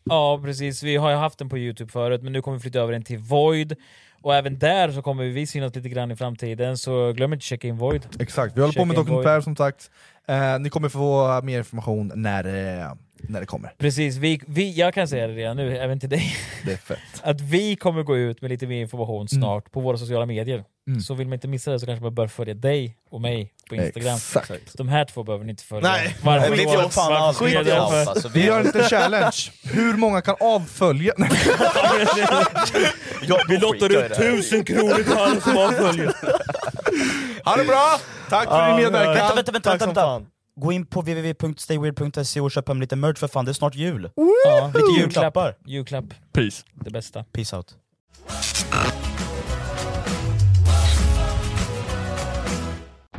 S1: Ja, precis. Vi har ju haft den på Youtube förut, men nu kommer vi flytta över den till Void. Och även där så kommer vi synas lite grann i framtiden, så glöm inte checka in Void.
S4: Exakt, vi håller på
S1: Checka
S4: med
S1: in
S4: dokumentär
S1: Void.
S4: som sagt. Eh, ni kommer få mer information när, eh, när det kommer.
S1: Precis, vi, vi, jag kan säga det redan nu, även till dig.
S4: Det är fett.
S1: Att vi kommer gå ut med lite mer information snart på våra sociala medier.
S4: Mm.
S1: Så vill man inte missa det så kanske man bör följa dig och mig på Instagram.
S4: Exakt.
S1: De här två behöver ni inte följa.
S4: Nej.
S1: Varför
S4: Nej,
S1: då?
S4: det gör fan
S1: Varför
S4: allt.
S1: ska ni
S4: Skit i
S1: göra
S4: allt,
S1: det?
S3: alltså.
S4: Vi gör inte challenge. Hur många kan avfölja? Nej.
S1: Vi lottar
S4: skiter i det
S1: ut
S4: här.
S1: tusen kronor till alla som avföljer.
S4: Ha det bra! Tack för din medverkan!
S3: Vänta, vänta, vänta,
S4: Tack
S3: vänta,
S4: som
S3: vänta. Gå in på www.stayweird.se och köp hem lite merch för fan, det är snart jul.
S1: Ja.
S3: Lite julklappar.
S1: Julklapp.
S3: Peace.
S1: Det bästa.
S3: Peace out.